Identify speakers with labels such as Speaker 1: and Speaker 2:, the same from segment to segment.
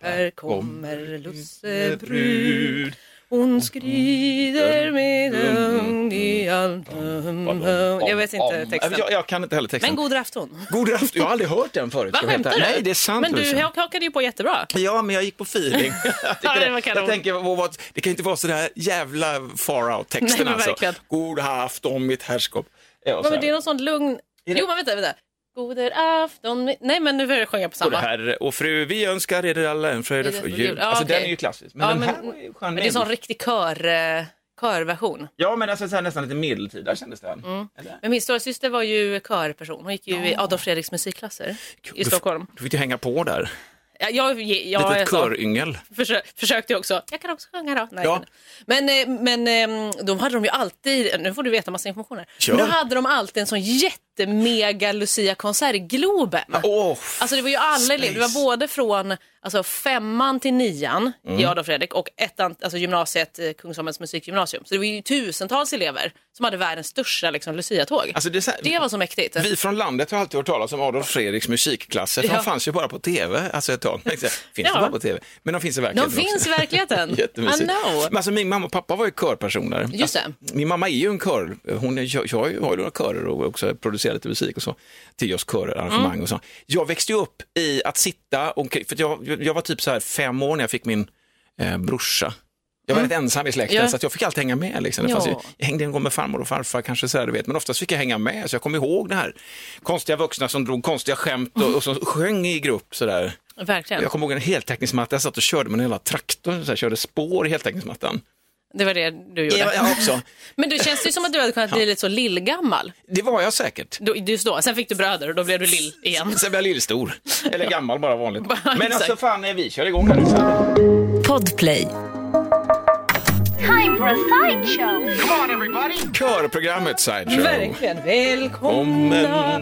Speaker 1: här kommer lussebrud. Hon skrider med lugn i allt Jag vet inte texten.
Speaker 2: Jag, jag kan inte heller texten.
Speaker 1: Men god afton.
Speaker 2: God afton, jag har aldrig hört den förut.
Speaker 1: Va,
Speaker 2: ska jag veta.
Speaker 1: skämtar du?
Speaker 2: Nej, det är sant.
Speaker 1: Men du
Speaker 2: Lucia.
Speaker 1: hakade ju på jättebra.
Speaker 2: Ja, men jag gick på feeling. jag,
Speaker 1: Ja,
Speaker 2: tycker
Speaker 1: det
Speaker 2: det.
Speaker 1: var kanon.
Speaker 2: jag tänker, vad- vad- det kan inte vara så där jävla far
Speaker 1: Nej,
Speaker 2: out-texten
Speaker 1: men
Speaker 2: alltså.
Speaker 1: verkligen.
Speaker 2: God afton mitt herrskap. Ja, och så
Speaker 1: Men det är
Speaker 2: här.
Speaker 1: någon sån lugn... Jo, men vänta, vänta. Goder afton... med- Nej, men nu börjar jag sjunga på
Speaker 2: God
Speaker 1: samma.
Speaker 2: herre och fru, vi önskar er alla en fröjd för jul.
Speaker 1: Ja,
Speaker 2: Alltså
Speaker 1: okej.
Speaker 2: den är ju klassisk. Men
Speaker 1: Ja,
Speaker 2: den
Speaker 1: men-
Speaker 2: här var ju skön
Speaker 1: Men det är en sån
Speaker 2: medeltid.
Speaker 1: riktig kör, eh, körversion.
Speaker 2: Ja, men alltså, så här, nästan lite medeltida kändes den.
Speaker 1: Mm.
Speaker 2: Eller?
Speaker 1: Men min stora syster var ju körperson. Hon gick ju i Adolf Fredriks musikklasser i
Speaker 2: Du-
Speaker 1: Stockholm.
Speaker 2: Du fick ju hänga på där.
Speaker 1: Ja, Jag, jag, jag,
Speaker 2: Litet
Speaker 1: jag sa,
Speaker 2: köryngel.
Speaker 1: försö, försökte ju också. Jag kan också sjunga då. Nej,
Speaker 2: Ja.
Speaker 1: Men, eh, men ehm, de hade de ju alltid, nu får du veta massa information här.
Speaker 2: Kör.
Speaker 1: Men då hade de alltid en sån jättemega Lucia-konsert i Globen.
Speaker 2: Åh,
Speaker 1: Alltså det var ju alla elever, det var
Speaker 2: space. Mm.
Speaker 1: både från alltså, femman till nian i Adolf Fredrik och ettan, alltså gymnasiet, eh, Kungsholmens musikgymnasium. Så det var ju tusentals elever som hade världens största liksom, Lucia-tåg.
Speaker 2: Alltså, det är så här-
Speaker 1: det var så mäktigt.
Speaker 2: Vi från landet har alltid hört talas om Adolf Fredriks musikklasser. för
Speaker 1: Ja.
Speaker 2: De fanns ju bara på tv alltså ett tag. Finns
Speaker 1: Ja.
Speaker 2: det bara på tv? Men de finns i
Speaker 1: De
Speaker 2: verkligheten
Speaker 1: finns
Speaker 2: också.
Speaker 1: i verkligheten. I
Speaker 2: Jättemysigt.
Speaker 1: know.
Speaker 2: Men alltså, min mamma och pappa var ju körpersoner.
Speaker 1: Just det.
Speaker 2: Min mamma är ju en kör. Hon är, jag, jag har ju har ju några körer och också producerar lite musik och så. Till just körer, arrangemang
Speaker 1: Mm.
Speaker 2: och så. Jag växte ju upp i att sitta och, för att jag, jag var typ så här fem år när jag fick min eh, brorsa. Jag var rätt ensam i släkten
Speaker 1: Mm. Ja.
Speaker 2: så att jag fick alltid hänga med. Liksom. Det
Speaker 1: Ja.
Speaker 2: fanns ju, jag hängde en gång med farmor och farfar kanske så här, du vet. men oftast fick jag hänga med så jag kommer ihåg det här. Konstiga vuxna som drog konstiga skämt och, och som sjöng i grupp sådär.
Speaker 1: Verkligen.
Speaker 2: Jag kommer ihåg en heltäckningsmatta, jag satt och körde med en hela traktor, så här, körde spår i heltäckningsmattan.
Speaker 1: Det var det du gjorde.
Speaker 2: Ja, jag också.
Speaker 1: Men du känns det ju som att du hade kunnat bli lite så lillgammal
Speaker 2: Det var jag säkert.
Speaker 1: då- just då. Sen fick du bröder och då blev du lill igen.
Speaker 2: Sen blev jag lillstor. Eller gammal bara vanligt.
Speaker 1: Bara,
Speaker 2: Men alltså
Speaker 1: exakt.
Speaker 2: fan, eh, vi kör igång här nu. så här.
Speaker 3: Podplay.
Speaker 4: Time for a sideshow.
Speaker 2: Körprogrammet Sideshow.
Speaker 1: Verkligen. Välkomna.
Speaker 2: Välkomna.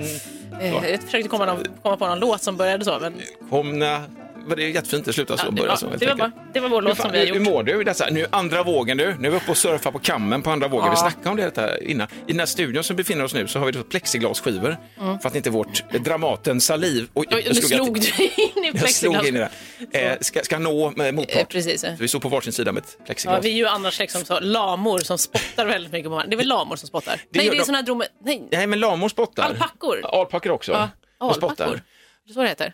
Speaker 1: Eh, Jag försökte komma, någon, komma på någon låt som började så. Men,
Speaker 2: Komna. Men Det är jättefint att sluta så.
Speaker 1: ja,
Speaker 2: och
Speaker 1: det,
Speaker 2: börja så,
Speaker 1: var,
Speaker 2: helt
Speaker 1: det, var bara,
Speaker 2: enkelt.
Speaker 1: det var vår
Speaker 2: Hur
Speaker 1: låt som
Speaker 2: fan,
Speaker 1: vi har
Speaker 2: hur, hur
Speaker 1: gjort.
Speaker 2: mår du? i Dessa? Nu är andra vågen du. Nu är vi uppe och surfar på kammen på andra vågen. Vi snackade om det detta innan. I den här studion som vi befinner oss nu så har vi då plexiglasskivor. För att inte vårt Dramaten saliv... Oj,
Speaker 1: Mm. Oj, Nu slog du in i
Speaker 2: Jag slog in i
Speaker 1: plexiglas.
Speaker 2: det. Eh, ska, ska nå med
Speaker 1: Eh,
Speaker 2: motpart.
Speaker 1: Precis.
Speaker 2: Så vi stod på varsin sida med ett plexiglas.
Speaker 1: Ja, vi är ju annars liksom så lamor som spottar väldigt mycket på varandra. Det är väl lamor som spottar? Nej,
Speaker 2: gör
Speaker 1: det är
Speaker 2: de-
Speaker 1: såna här drome... Nej,
Speaker 2: Nej, men lamor spottar.
Speaker 1: Alpackor.
Speaker 2: Alpackor också.
Speaker 1: ja,
Speaker 2: De spottar.
Speaker 1: alpackor. Är det så det heter?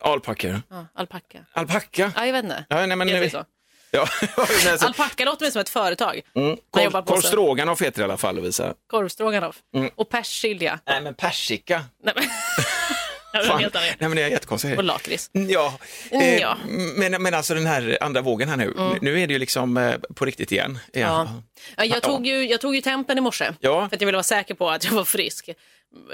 Speaker 2: Alpackor.
Speaker 1: Ja, alpacka.
Speaker 2: Alpacka.
Speaker 1: Ja, jag vet inte.
Speaker 2: Ja, nej, men-
Speaker 1: Heter det så?
Speaker 2: Ja. men så-
Speaker 1: Alpacka låter mig som ett företag.
Speaker 2: Mm.
Speaker 1: Man jobbar
Speaker 2: Korv
Speaker 1: på
Speaker 2: korv
Speaker 1: så-
Speaker 2: stroganoff heter det i alla fall, Lovisa.
Speaker 1: Korvstroganoff.
Speaker 2: Mm.
Speaker 1: Och persilja.
Speaker 2: Nej, men persika.
Speaker 1: Nej, men... jag vet inte vad det
Speaker 2: Nej,
Speaker 1: är.
Speaker 2: men det är jättekonstigt.
Speaker 1: Och lakrits.
Speaker 2: Ja,
Speaker 1: Mm,
Speaker 2: eh,
Speaker 1: ja. Mm.
Speaker 2: Men, men alltså den här andra vågen här nu, nu är det ju liksom eh, på riktigt igen. Ja.
Speaker 1: Ja. Ja, Jag, tog ju, jag tog ju tempen i morse
Speaker 2: Ja.
Speaker 1: för att jag ville vara säker på att jag var frisk.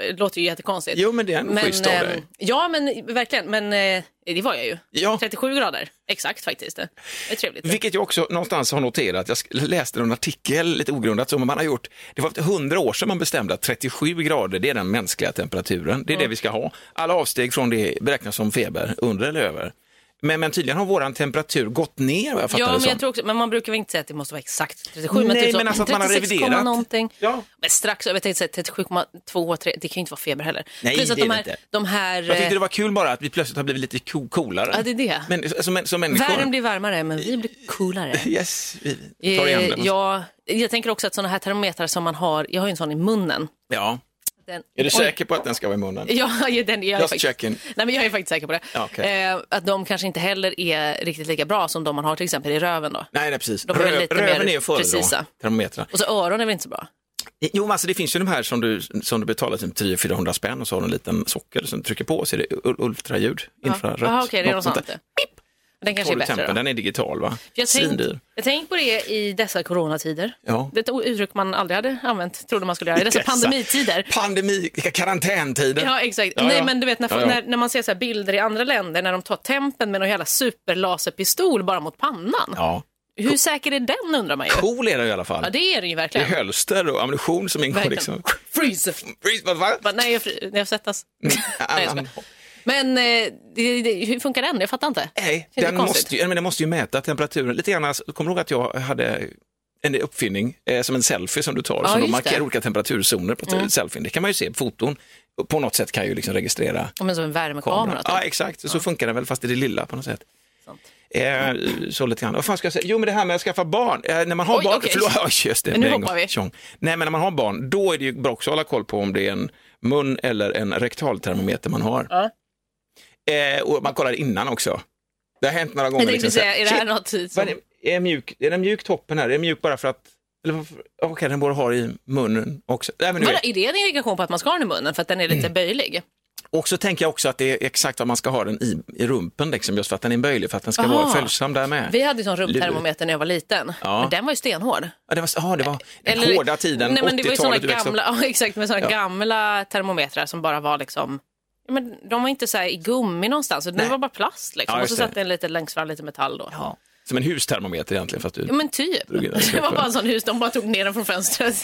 Speaker 1: Det låter ju jättekonstigt.
Speaker 2: Jo, men det är ändå schysst av
Speaker 1: eh,
Speaker 2: dig.
Speaker 1: Ja, men verkligen. Men eh, det var jag ju.
Speaker 2: Ja.
Speaker 1: 37 grader, exakt faktiskt. Det är trevligt.
Speaker 2: Vilket jag också någonstans har noterat, jag sk- läste en artikel lite ogrundat som man har gjort, det var 100 år sedan man bestämde att 37 grader det är den mänskliga temperaturen, det är det vi ska ha. Alla avsteg från det beräknas som feber, under eller över. Men, men tydligen har våran temperatur gått ner vad jag fattar
Speaker 1: Ja,
Speaker 2: det
Speaker 1: men,
Speaker 2: som.
Speaker 1: jag tror också, men man brukar väl inte säga att det måste vara exakt 37, men
Speaker 2: Nej,
Speaker 1: typ så,
Speaker 2: men alltså att man har
Speaker 1: 36, komma
Speaker 2: reviderat.
Speaker 1: någonting.
Speaker 2: Ja.
Speaker 1: Men strax över, jag tänkte säga 37,2, tre- det kan ju inte vara feber heller.
Speaker 2: Nej,
Speaker 1: Plus att
Speaker 2: det är
Speaker 1: de här,
Speaker 2: det inte.
Speaker 1: De här,
Speaker 2: Jag tyckte det var kul bara att vi plötsligt har blivit lite co- coolare.
Speaker 1: Ja, det är det.
Speaker 2: Men, som, som
Speaker 1: eh,
Speaker 2: människor.
Speaker 1: Världen blir varmare, men vi blir coolare.
Speaker 2: Yes, vi tar igen
Speaker 1: Eh,
Speaker 2: den.
Speaker 1: ja, jag tänker också att sådana här termometrar som man har, jag har ju en sån i munnen.
Speaker 2: Ja.
Speaker 1: Den,
Speaker 2: Är du
Speaker 1: Oj. Eh,
Speaker 2: säker på att den ska vara i munnen?
Speaker 1: Ja, ju den, jag, är
Speaker 2: Just
Speaker 1: faktiskt,
Speaker 2: checking.
Speaker 1: nej, men jag är faktiskt säker på det.
Speaker 2: Ja, okej.
Speaker 1: eh, att de kanske inte heller är riktigt lika bra som de man har till exempel i röven. Då.
Speaker 2: Nej, nej, precis.
Speaker 1: De är väl
Speaker 2: Rö-
Speaker 1: lite
Speaker 2: Röven
Speaker 1: mer
Speaker 2: är ju före
Speaker 1: precisa.
Speaker 2: då, termometrarna.
Speaker 1: Och så öron är väl inte så bra?
Speaker 2: Jo, men alltså det finns ju de här som du, som du betalar typ 300-400 spänn och så har du en liten socker som du trycker på och så är det ul- ultraljud, infrarött.
Speaker 1: Jaha, okej, det är något
Speaker 2: sånt
Speaker 1: sånt.
Speaker 2: där.
Speaker 1: Pip! Den kanske
Speaker 2: Tar
Speaker 1: är
Speaker 2: du
Speaker 1: bättre.
Speaker 2: tempen,
Speaker 1: Då.
Speaker 2: den är digital va?
Speaker 1: Jag
Speaker 2: Svindyr.
Speaker 1: tänkte tänk på det i dessa coronatider.
Speaker 2: Ja.
Speaker 1: Det är ett uttryck man aldrig hade använt, trodde man skulle göra. I dessa
Speaker 2: Dessa
Speaker 1: pandemitider.
Speaker 2: Pandemi, vilka karantäntider.
Speaker 1: Ja, exakt.
Speaker 2: Ja,
Speaker 1: Nej,
Speaker 2: ja.
Speaker 1: men du vet när,
Speaker 2: Ja, ja.
Speaker 1: När, när man ser så här bilder i andra länder när de tar tempen med någon jävla superlaserpistol bara mot pannan.
Speaker 2: Ja.
Speaker 1: Hur säker är den undrar man ju.
Speaker 2: Cool är den i alla fall.
Speaker 1: Ja, det är den ju
Speaker 2: Det är
Speaker 1: verkligen.
Speaker 2: hölster och ammunition som ingår
Speaker 1: verkligen.
Speaker 2: liksom.
Speaker 1: Freeze!
Speaker 2: Freeze, vad Alltså, fan?
Speaker 1: Bara, Nej, jag, fri- jag svettas.
Speaker 2: Mm.
Speaker 1: Nej, jag skojar.
Speaker 2: Annan-
Speaker 1: Men eh, det, det, hur funkar den? Jag fattar inte.
Speaker 2: Nej,
Speaker 1: Känns
Speaker 2: den
Speaker 1: det konstigt?
Speaker 2: måste, ju, men den måste ju mäta temperaturen. Lite grann, alltså, kommer du ihåg att jag hade en uppfinning eh, som en selfie som du tar,
Speaker 1: Ja,
Speaker 2: som de
Speaker 1: just
Speaker 2: markerar
Speaker 1: det.
Speaker 2: olika temperaturzoner på mm. selfien. Det kan man ju se på foton. På något sätt kan jag ju liksom registrera
Speaker 1: Ja, Men som en
Speaker 2: kameran.
Speaker 1: värmekamera. typ.
Speaker 2: Ja, exakt. Så funkar den väl, fast i det lilla på något sätt.
Speaker 1: Sant.
Speaker 2: Eh, så lite grann. Vad fan ska jag säga? Jo, men det här med att skaffa barn. Eh, när man har
Speaker 1: Oj,
Speaker 2: barn,
Speaker 1: okej.
Speaker 2: förlåt, just det.
Speaker 1: Men nu
Speaker 2: det är en
Speaker 1: hoppar
Speaker 2: gång.
Speaker 1: vi.
Speaker 2: Tjong. Nej, men när man har barn, då är det ju bra också att hålla koll på om det är en mun eller en rektaltermometer man har.
Speaker 1: Ja.
Speaker 2: Eh, och man kollar innan också. Det har hänt några gånger.
Speaker 1: Jag tänkte
Speaker 2: liksom, så här,
Speaker 1: säga, är det här
Speaker 2: shit,
Speaker 1: något som...
Speaker 2: vad är, det, är, det mjuk, är den mjuk toppen här? Är den mjuk bara för att... eller varför- Okej, den borde ha det i munnen också. Nej, men du
Speaker 1: Vadå,
Speaker 2: vet.
Speaker 1: är det en indikation på att man ska ha den i munnen för att den är
Speaker 2: Mm.
Speaker 1: lite böjlig?
Speaker 2: Och så tänker jag också att det är exakt vad man ska ha den i, i rumpen, liksom, just för att den är böjlig, för att den ska
Speaker 1: Aha.
Speaker 2: vara följsam där med.
Speaker 1: Ah. Vi hade ju sån rumptermometer när jag var liten,
Speaker 2: Ja.
Speaker 1: men den var ju stenhård.
Speaker 2: Ja, det var, ja, det var den hårda tiden,
Speaker 1: nej, men det var ju
Speaker 2: 80-talet.
Speaker 1: såna
Speaker 2: du växte upp.
Speaker 1: gamla, ja, exakt, med såna
Speaker 2: Ja.
Speaker 1: gamla termometrar som bara var liksom ja, men de var inte så här i gummi någonstans, utan det
Speaker 2: Nej.
Speaker 1: var bara plast. Liksom.
Speaker 2: Ja,
Speaker 1: och så
Speaker 2: just det.
Speaker 1: satt den lite längst fram, lite metall då. Ja.
Speaker 2: Som en hustermometer egentligen. Fast du...
Speaker 1: men typ.
Speaker 2: Drog in den i
Speaker 1: Det var
Speaker 2: kroppen.
Speaker 1: bara en sån hus, de bara tog ner den från fönstret.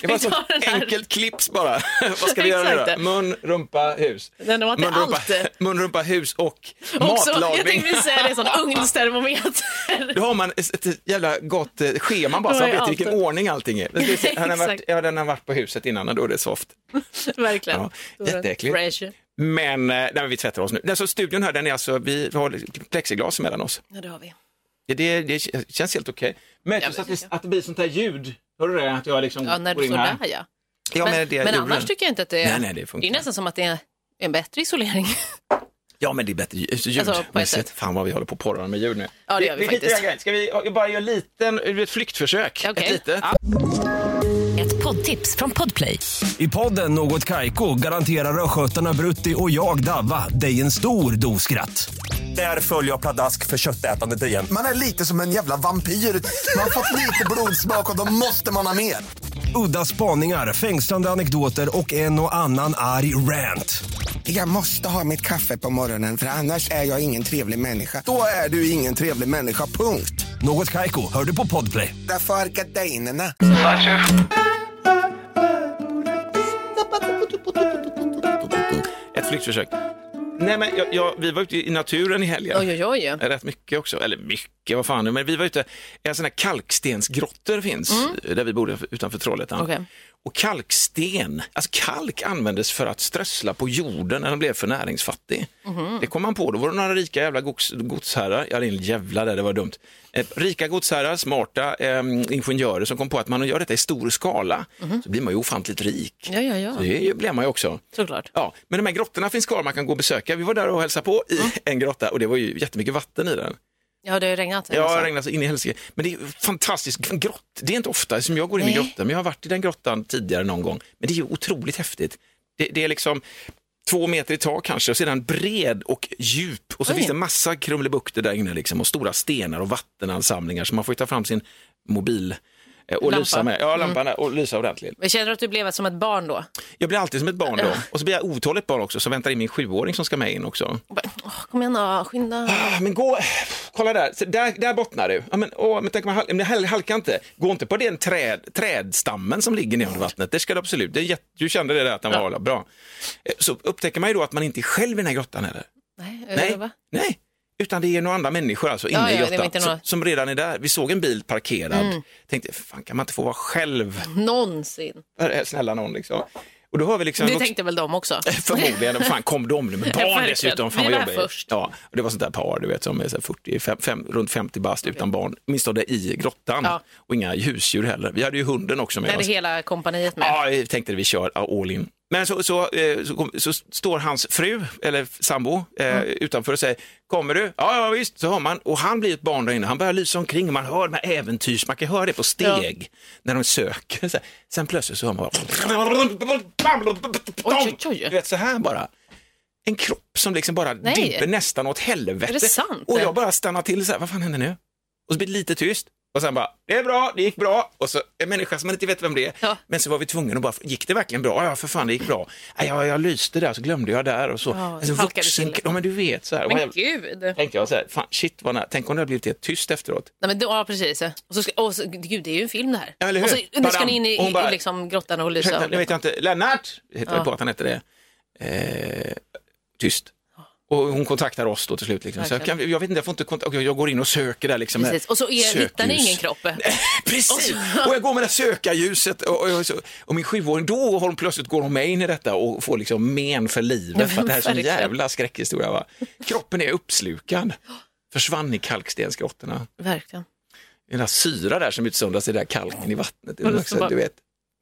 Speaker 2: det var
Speaker 1: vi
Speaker 2: så
Speaker 1: tar den här.
Speaker 2: enkelt clips bara. Vad ska vi göra nu
Speaker 1: Exakt.
Speaker 2: då? Mun, rumpa, hus.
Speaker 1: Den var till
Speaker 2: Mun, rumpa,
Speaker 1: allt.
Speaker 2: mun, rumpa, hus och
Speaker 1: Också, jag
Speaker 2: matlagning.
Speaker 1: tänkte säga det, sån ugnstermometer.
Speaker 2: Då har man ett ett jävla gott eh, schema bara,
Speaker 1: Då
Speaker 2: så man
Speaker 1: är
Speaker 2: vet i
Speaker 1: allt-
Speaker 2: vilken ordning allting är. Men ska vi se, Han har varit,
Speaker 1: Exakt.
Speaker 2: ja, den har varit på huset innan, och då är det soft.
Speaker 1: Verkligen.
Speaker 2: Ja,
Speaker 1: Då var den
Speaker 2: jätteäckligt.
Speaker 1: Fresh.
Speaker 2: Men, eh, nej, men vi tvättar oss nu. Alltså, studion här, den är alltså, vi vi har plexiglas mellan oss.
Speaker 1: Ja, det har vi.
Speaker 2: Det, det, det k- känns helt okej. Men just
Speaker 1: men
Speaker 2: att,
Speaker 1: det
Speaker 2: det, att det blir sånt här ljud, hör du det? Att jag liksom
Speaker 1: Ja, när
Speaker 2: går
Speaker 1: du
Speaker 2: in
Speaker 1: står
Speaker 2: här.
Speaker 1: där ja.
Speaker 2: Ja,
Speaker 1: Men,
Speaker 2: men, det,
Speaker 1: men
Speaker 2: gjorde
Speaker 1: annars
Speaker 2: den.
Speaker 1: tycker jag inte att det är...
Speaker 2: Nej, nej, det funkar.
Speaker 1: är nästan som att det är en bättre isolering.
Speaker 2: Ja, men det är bättre ljud.
Speaker 1: Alltså, på ett
Speaker 2: Alltså,
Speaker 1: sätt.
Speaker 2: Fan vad vi håller på att porra med ljud nu.
Speaker 1: Ja, det gör vi
Speaker 2: skiter i
Speaker 1: faktiskt.
Speaker 2: den grejen. Ska vi jag bara göra en liten, ett flyktförsök?
Speaker 1: Okej.
Speaker 2: Ett litet.
Speaker 1: Ja.
Speaker 3: Ett poddtips från Podplay.
Speaker 4: I podden Något Kaiko garanterar östgötarna Brutti och jag, Davva, dig en stor dos skratt. Där följer jag pladask för köttätandet igen.
Speaker 5: Man är lite som en jävla vampyr. Man har fått lite blodsmak och då måste man ha mer.
Speaker 4: Udda spaningar, fängslande anekdoter och en och annan arg rant.
Speaker 5: Jag måste ha mitt kaffe på morgonen för annars är jag ingen trevlig människa. Då är du ingen trevlig människa, punkt.
Speaker 4: Något Kaiko, hör du på Podplay.
Speaker 5: Därför är gardinerna.
Speaker 2: Ett flyktförsök. Nej, men jag, jag, vi var ute i naturen i helgen.
Speaker 1: Oj, oj, oj.
Speaker 2: Rätt mycket också, eller mycket, vad fan nu, men vi var ute, en sån här kalkstensgrottor finns där vi bodde utanför Trollhättan.
Speaker 1: Okej.
Speaker 2: Och kalksten, alltså kalk användes för att strössla på jorden när den blev för näringsfattig. Det kom man på, då var det några rika jävla gods, godsherrar, ja det är en jävla där, det var dumt. Eh, rika godsherrar, smarta eh, ingenjörer som kom på att man gör detta i stor skala så blir man ju ofantligt rik.
Speaker 1: Ja, ja, ja.
Speaker 2: Så det är ju- blev man ju också.
Speaker 1: Såklart.
Speaker 2: Ja, men de här grottorna finns kvar man kan gå och besöka. Vi var där och hälsade på i en grotta och det var ju jättemycket vatten i den.
Speaker 1: Ja, det har ju regnat. här,
Speaker 2: Ja,
Speaker 1: alltså.
Speaker 2: det regnade så in i helsike. Men det är ju fantastiskt. En grott, det är inte ofta som jag går in i
Speaker 1: Nej.
Speaker 2: grottan, men jag har varit i den grottan tidigare någon gång. Men det är ju otroligt häftigt. Det, det är liksom två meter i tak kanske och sedan bred och djup. Och så
Speaker 1: Oj.
Speaker 2: finns det massa krumlebukter där inne liksom, och stora stenar och vattenansamlingar så man får ju ta fram sin mobil eh, och
Speaker 1: Lampa. Mm.
Speaker 2: lysa med. Ja, lampan där, och lysa ordentligt.
Speaker 1: Men Känner du att du blev som ett barn då?
Speaker 2: Jag blir alltid som ett barn då. Och så blir jag otåligt barn också, så väntar in min sjuåring som ska med in också.
Speaker 1: Och bara, Åh, kom igen då, skynda.
Speaker 2: Ah, men gå, kolla där, Så där, där bottnar du. Ja, men, åh, men tänk om jag hal- men jag halkar inte. Gå inte på den träd, trädstammen som ligger ner under vattnet, det ska du absolut. Det är jätte, du kände det där att den var bra. Eh, Så upptäcker man ju då att man inte är själv i den här grottan heller.
Speaker 1: Nej,
Speaker 2: Nej,
Speaker 1: eller va?
Speaker 2: nej. utan det är några andra människor alltså inne
Speaker 1: Ja,
Speaker 2: i
Speaker 1: ja, det var
Speaker 2: grottan
Speaker 1: inte
Speaker 2: som,
Speaker 1: några-
Speaker 2: som redan är där. Vi såg en bil parkerad,
Speaker 1: Mm.
Speaker 2: tänkte fan kan man inte få vara själv?
Speaker 1: Någonsin.
Speaker 2: Snälla någon liksom. Och då har vi liksom en
Speaker 1: Det
Speaker 2: vuxen-
Speaker 1: tänkte väl de också?
Speaker 2: Förmodligen, fan kom de nu med
Speaker 1: Ja,
Speaker 2: barn
Speaker 1: verkligen.
Speaker 2: dessutom, fan
Speaker 1: Vi
Speaker 2: vad
Speaker 1: var
Speaker 2: jobbigt.
Speaker 1: först.
Speaker 2: Ja, och det var sånt där par du vet som är så här 40, fem, fem, runt 50 bast utan barn, åtminstone i grottan.
Speaker 1: Ja.
Speaker 2: Och inga husdjur heller. Vi hade ju hunden också Ah,
Speaker 1: Där
Speaker 2: med
Speaker 1: är
Speaker 2: oss.
Speaker 1: hela kompaniet med.
Speaker 2: Ja, vi tänkte vi kör all in. Men så, så, eh, så, kom, så står hans fru, eller sambo, eh,
Speaker 1: Mm.
Speaker 2: utanför och säger Kommer du? Ja, ja visst, så hör man. Och han blir ett barn där inne. Han börjar lysa omkring och man hör de här äventyrs, man kan höra det på steg när de söker. Så här. Sen plötsligt så hör man bara...
Speaker 1: oj, oj.
Speaker 2: Du vet, så här bara. En kropp som liksom bara
Speaker 1: Nej.
Speaker 2: dimper nästan åt helvete.
Speaker 1: Är det sant?
Speaker 2: Och jag bara stannar till så här, vad fan händer nu? Och så blir det lite tyst. Och sen bara, det är bra, det gick bra. Och så en människa som man inte vet vem det är.
Speaker 1: Ja.
Speaker 2: Men så var vi tvungna att bara, gick det verkligen bra? Ja, för fan det gick bra. Ja, jag, jag lyste där, så glömde jag där och så.
Speaker 1: Ja,
Speaker 2: alltså,
Speaker 1: halkade
Speaker 2: vuxen,
Speaker 1: till.
Speaker 2: ja men du vet så här. Och
Speaker 1: Men
Speaker 2: jag,
Speaker 1: gud. Nej,
Speaker 2: tänkte jag så här, fan shit vad nära. Tänk om det hade blivit helt tyst efteråt.
Speaker 1: men då, ja, precis. Och så ska, och så, gud, det är ju en film det här.
Speaker 2: Ja, eller hur?
Speaker 1: Och så, nu ska ni in i,
Speaker 2: Och hon bara-
Speaker 1: i liksom, grottan och lysa.
Speaker 2: Ursäkta, nu vet jag inte, Lennart! Heter
Speaker 1: Ja.
Speaker 2: jag på att han hette det. Eh, tyst. Och hon kontaktar oss då till slut. Liksom. Så jag,
Speaker 1: Verkligen.
Speaker 2: kan, jag vet inte, jag får inte kontakt, jag, jag går in och söker där liksom.
Speaker 1: Precis. Och så är, hittar ni
Speaker 2: Sökljus.
Speaker 1: ingen kropp.
Speaker 2: Precis!
Speaker 1: Alltså.
Speaker 2: Och jag går med det här sökarljuset och, och, jag- så- och min sjuåring, då har hon plötsligt går hon med in i detta och får liksom men för
Speaker 1: Ja,
Speaker 2: livet. För att det här är en sån
Speaker 1: verkligen.
Speaker 2: jävla skräckhistoria. Va? Kroppen är uppslukad. Försvann i kalkstensgrottorna.
Speaker 1: Verkligen.
Speaker 2: Det är Den här syra där som utsöndras i den där kalken i vattnet. Det är
Speaker 1: Och
Speaker 2: också,
Speaker 1: liksom bara-
Speaker 2: du vet.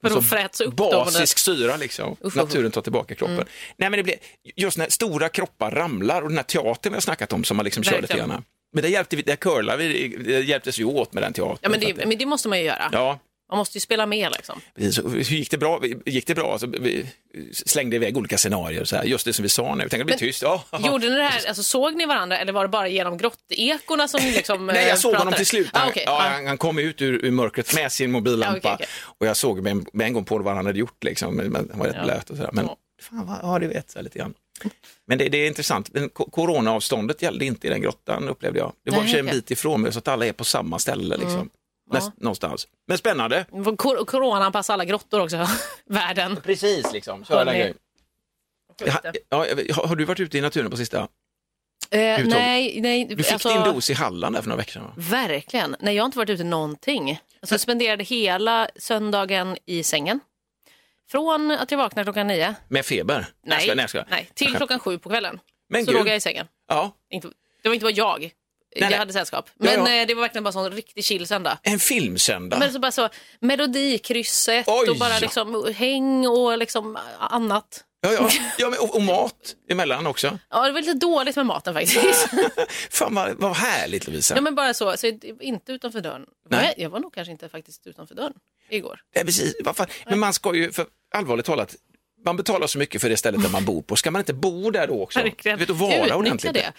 Speaker 1: För de
Speaker 2: Alltså,
Speaker 1: fräts upp dem. och det-
Speaker 2: Basisk syra liksom.
Speaker 1: usch.
Speaker 2: Naturen tar tillbaka kroppen.
Speaker 1: Mm.
Speaker 2: Nej men det blir, just när stora kroppar ramlar och den här teatern vi har snackat om som man liksom kör lite
Speaker 1: Verkligen.
Speaker 2: grann. Men det hjälpte vi, det curlar vi, det hjälptes vi åt med den teatern.
Speaker 1: Ja, men
Speaker 2: För
Speaker 1: det,
Speaker 2: att
Speaker 1: men det måste man ju göra.
Speaker 2: ja,
Speaker 1: Man måste ju spela med liksom.
Speaker 2: Precis. Och Hur gick det bra? Gick det bra? Alltså, vi slängde iväg olika scenarier, så här. just det som vi sa nu. Tänk om det blir
Speaker 1: Men-
Speaker 2: tyst. Ja.
Speaker 1: Gjorde ni det här, alltså, såg ni varandra eller var det bara genom grottekorna som ni liksom
Speaker 2: Nej,
Speaker 1: eh,
Speaker 2: jag såg honom
Speaker 1: pratade?
Speaker 2: till slut.
Speaker 1: Ah,
Speaker 2: Han-
Speaker 1: okej.
Speaker 2: ja,
Speaker 1: Ah.
Speaker 2: han, han kom ut ur, ur mörkret med sin mobillampa
Speaker 1: Ja, okej, okej.
Speaker 2: och jag såg med en, med en gång på vad han hade gjort. Liksom. Men, men, han var rätt
Speaker 1: Ja.
Speaker 2: blöt och sådär. Men
Speaker 1: Ja.
Speaker 2: fan, vad, ja, du vet, så här, lite grann. Men det, det är intressant. Men ko- Coronaavståndet gällde inte i den grottan upplevde jag. Det var i och för sig en
Speaker 1: Nej, okej. Mm.
Speaker 2: bit ifrån mig så att alla är på samma ställe. Liksom. Näst, någonstans. Men spännande.
Speaker 1: Kor- Coronaanpassa Ah. alla grottor också, världen.
Speaker 2: Precis, liksom.
Speaker 1: Hörni.
Speaker 2: Köra ja, ja, jag- har, har du varit ute i naturen på sista?
Speaker 1: Eh,
Speaker 2: Uttag.
Speaker 1: nej, nej. alltså,
Speaker 2: Du fick din dos i Halland där för några veckor sedan. va?
Speaker 1: Verkligen. Nej, jag har inte varit ute någonting. Alltså, jag spenderade hela söndagen i sängen. Från att jag vaknade klockan nio,
Speaker 2: Med feber? jag
Speaker 1: nej,
Speaker 2: skojar, jag skojar.
Speaker 1: nej, till klockan sju på kvällen.
Speaker 2: Men
Speaker 1: så
Speaker 2: gud.
Speaker 1: låg jag i sängen.
Speaker 2: Ja.
Speaker 1: Inte, det var inte bara jag. jag
Speaker 2: nej.
Speaker 1: hade sällskap.
Speaker 2: Ja,
Speaker 1: Men
Speaker 2: ja.
Speaker 1: eh, det var verkligen bara sån riktig chill söndag.
Speaker 2: En filmsöndag.
Speaker 1: Men så bara så, melodikrysset
Speaker 2: Oj.
Speaker 1: och bara liksom häng och liksom annat.
Speaker 2: Ja, ja. Ja, men, och, och mat emellan också.
Speaker 1: Ja, det var lite dåligt med maten faktiskt.
Speaker 2: Fan vad, vad härligt Lovisa.
Speaker 1: ja, men bara så, så jag- inte utanför dörren.
Speaker 2: Nej.
Speaker 1: Nej. Jag var nog kanske inte faktiskt utanför dörren igår.
Speaker 2: Nej, Eh, precis. Vad fan. Men man ska ju, för, allvarligt talat, man betalar så mycket för det stället där man bor på. Ska man inte bo där då också?
Speaker 1: Verkligen.
Speaker 2: Du Vet, och
Speaker 1: Utnyttja
Speaker 2: vara ordentligt.
Speaker 1: det.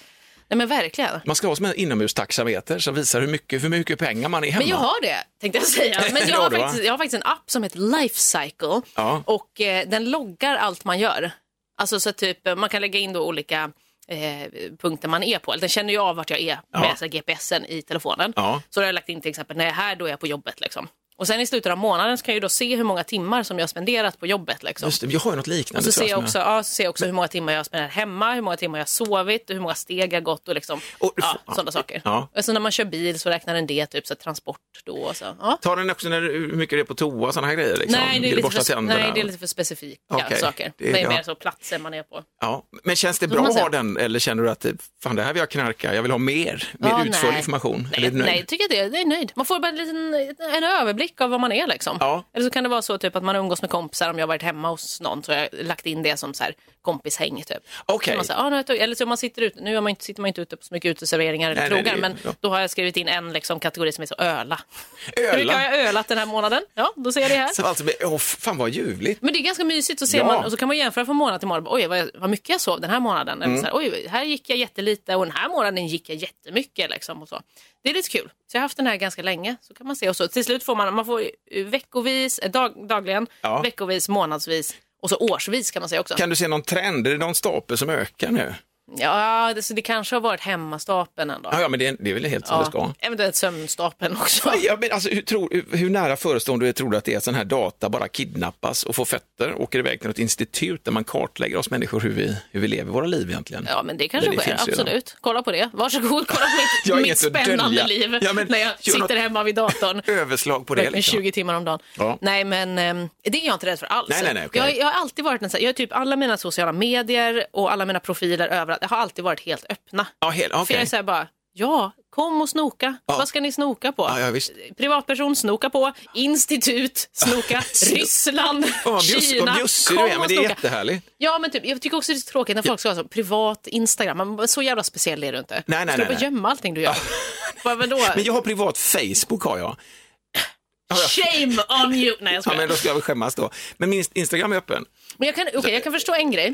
Speaker 1: Nej men verkligen.
Speaker 2: Man ska ha som en inomhustaxameter som visar hur mycket, hur mycket pengar man är hemma.
Speaker 1: Men jag har det, tänkte jag säga. Men
Speaker 2: Det
Speaker 1: jag
Speaker 2: har
Speaker 1: har
Speaker 2: du, va?
Speaker 1: faktiskt, jag har faktiskt en app som heter Lifecycle
Speaker 2: Ja.
Speaker 1: och eh, den loggar allt man gör. Alltså så typ, eh, man kan lägga in då olika eh, punkter man är på. Eller Den känner ju av vart jag är
Speaker 2: Ja.
Speaker 1: med så här GPSen i telefonen.
Speaker 2: Ja.
Speaker 1: Så då har jag lagt in till exempel, när jag är här då är jag på jobbet. Liksom. Och sen i slutet av månaden så kan jag ju då se hur många timmar som jag har spenderat på jobbet. Liksom.
Speaker 2: Just det, jag har ju något liknande.
Speaker 1: Så
Speaker 2: tror
Speaker 1: ser, jag
Speaker 2: som
Speaker 1: också, ja, så ser jag också hur många timmar jag har spenderat hemma, hur många timmar jag har sovit, och hur många steg jag har gått och, liksom,
Speaker 2: Och-
Speaker 1: ja,
Speaker 2: fan.
Speaker 1: sådana saker.
Speaker 2: Ja.
Speaker 1: Och så när man kör bil så räknar den det, typ så här, transport då och så. Ja.
Speaker 2: Tar den också när, du- hur mycket det är på toa, sådana här grejer? Liksom.
Speaker 1: Nej, det
Speaker 2: Vill
Speaker 1: är
Speaker 2: du
Speaker 1: lite
Speaker 2: borsta
Speaker 1: för,
Speaker 2: tänderna?
Speaker 1: nej, det är lite för specifika
Speaker 2: Okej.
Speaker 1: saker.
Speaker 2: Det är-
Speaker 1: Det är, mer
Speaker 2: ja.
Speaker 1: så platser man är på.
Speaker 2: Ja, men känns det
Speaker 1: får
Speaker 2: bra
Speaker 1: man
Speaker 2: att ha
Speaker 1: säga.
Speaker 2: den eller känner du att eh, fan, det här vill jag knarka, jag vill ha mer, mer
Speaker 1: Ja,
Speaker 2: utförlig
Speaker 1: nej.
Speaker 2: information? Eller
Speaker 1: Nej,
Speaker 2: är du nöjd?
Speaker 1: nej, tycker jag det. Jag är nöjd. Man får bara en, liten, en överblick av vad man är liksom.
Speaker 2: Ja.
Speaker 1: Eller så kan det vara så typ att man umgås med kompisar, om jag har varit hemma hos någon så har jag lagt in det som så här, kompishäng typ.
Speaker 2: Okej.
Speaker 1: Så man säger, ah, nu har jag tagit- eller så om man sitter ute, nu är man inte, sitter man inte ute på så mycket uteserveringar eller
Speaker 2: Nej, nej,
Speaker 1: krogar,
Speaker 2: det är-
Speaker 1: men
Speaker 2: ja.
Speaker 1: då har jag skrivit in en liksom, kategori som är så öla. Hur mycket har
Speaker 2: Öla?
Speaker 1: jag ölat den här månaden? Ja, då ser jag det här.
Speaker 2: Så alltså, åh, fan vad ljuvligt.
Speaker 1: Men det är ganska mysigt, så ser
Speaker 2: Ja.
Speaker 1: man, och så kan man jämföra från månad till månad. Oj, vad, jag- vad mycket jag sov den här månaden.
Speaker 2: Mm.
Speaker 1: Eller så här, Oj, här gick jag jättelite och den här månaden gick jag jättemycket. Liksom, och så. Det är lite kul. Så jag har haft den här ganska länge. Så kan man se. Och så, till slut får man, man får eh, veckovis, eh, dag, dagligen,
Speaker 2: Ja.
Speaker 1: veckovis, månadsvis och så årsvis kan man säga också.
Speaker 2: Kan du se någon trend? Är det någon stapel som ökar nu?
Speaker 1: Ja, det, så det kanske har varit hemmastapen ändå.
Speaker 2: Ah, Ja, ja men det, är- det är väl helt som det ska.
Speaker 1: Eventuellt sömnstapeln också.
Speaker 2: Ja, men alltså, hur, tror, hur- hur nära förestående är- tror du att det är att sån här data bara kidnappas och får fötter, åker iväg till något institut där man kartlägger oss människor hur vi, hur vi lever våra liv egentligen?
Speaker 1: Ja, men det kanske
Speaker 2: Men det
Speaker 1: sker.
Speaker 2: finns ju
Speaker 1: Absolut. Kolla på det. Varsågod, kolla
Speaker 2: Jag
Speaker 1: på
Speaker 2: har
Speaker 1: mitt, mitt
Speaker 2: inget att
Speaker 1: spännande
Speaker 2: dölja.
Speaker 1: liv
Speaker 2: Ja, men
Speaker 1: när jag
Speaker 2: gör
Speaker 1: sitter
Speaker 2: något-
Speaker 1: hemma vid datorn.
Speaker 2: Överslag på det.
Speaker 1: Verkligen
Speaker 2: Liksom.
Speaker 1: 20 timmar om dagen.
Speaker 2: Ja.
Speaker 1: Nej, men ehm, det är jag inte rädd för alls.
Speaker 2: Nej, nej, nej, okej.
Speaker 1: jag, jag har alltid varit en sån här, jag har typ alla mina sociala medier och alla mina profiler överallt, jag har alltid varit helt öppna.
Speaker 2: Ja, helt,
Speaker 1: För jag
Speaker 2: okej.
Speaker 1: är så här bara, ja, kom och snoka. Vad ska ni snoka på?
Speaker 2: Ja, ja, visst.
Speaker 1: Privatperson, snoka på. Institut, snoka. Ryssland,
Speaker 2: Fan, vad bjuss-
Speaker 1: Kina.
Speaker 2: vad bjussig du
Speaker 1: Kom
Speaker 2: är, men
Speaker 1: och
Speaker 2: det är
Speaker 1: snoka.
Speaker 2: jättehärligt.
Speaker 1: Ja, men typ, jag tycker också det är så tråkigt när folk ska ha så privat Instagram. Man, så jävla speciell är du inte.
Speaker 2: nej,
Speaker 1: ska du
Speaker 2: nej,
Speaker 1: bara
Speaker 2: nej.
Speaker 1: gömma allting du gör? Vad vadå?
Speaker 2: Men jag har privat Facebook har jag.
Speaker 1: Shame on you! Nej, jag
Speaker 2: Ja,
Speaker 1: skojar.
Speaker 2: men då ska jag väl skämmas då. Men min Instagram är öppen.
Speaker 1: Men jag kan, okej, jag kan förstå en grej.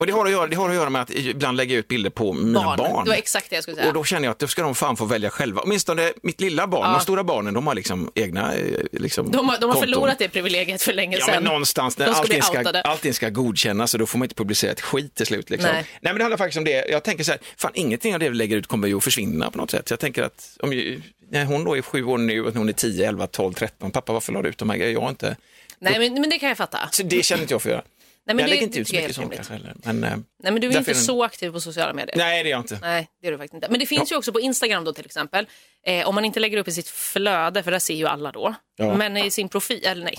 Speaker 2: Och det har, att göra, det har att göra med att ibland lägga ut bilder på mina barn.
Speaker 1: Barn. Det var exakt det jag skulle säga.
Speaker 2: Och då känner jag att då ska de fan få välja själva. Åtminstone mitt lilla barn, de stora barnen, de har liksom egna eh, liksom,
Speaker 1: de har, de har
Speaker 2: konton.
Speaker 1: förlorat det privilegiet för länge
Speaker 2: Ja,
Speaker 1: sedan.
Speaker 2: men någonstans när
Speaker 1: De ska
Speaker 2: allting
Speaker 1: bli
Speaker 2: ska,
Speaker 1: outade.
Speaker 2: allting ska godkännas och då får man inte publicera ett skit till slut. Liksom. Nej.
Speaker 1: Nej.
Speaker 2: men det handlar faktiskt om det. Jag tänker så här, fan ingenting av det vi lägger ut kommer ju att försvinna på något sätt. Så Jag tänker att om ju, när hon då är sju år nu och hon är 10, 11, 12, 13, pappa varför la du ut de här grejerna? Jag har inte.
Speaker 1: Nej, men, men det kan jag fatta.
Speaker 2: Så det känner inte jag för att göra.
Speaker 1: Nej, men
Speaker 2: jag
Speaker 1: det
Speaker 2: lägger inte ut så
Speaker 1: tycker jag är
Speaker 2: mycket sånt
Speaker 1: helt
Speaker 2: kanske
Speaker 1: rimligt.
Speaker 2: heller. Men, eh,
Speaker 1: Nej, men du är
Speaker 2: därför
Speaker 1: inte
Speaker 2: är den-
Speaker 1: så aktiv på sociala medier.
Speaker 2: Nej, det är jag inte.
Speaker 1: Nej, det är du faktiskt inte. Men det finns ju också på Instagram då till exempel. Eh, om man inte lägger upp i sitt flöde, för där ser ju alla då.
Speaker 2: Ja.
Speaker 1: Men i sin profil, eller nej,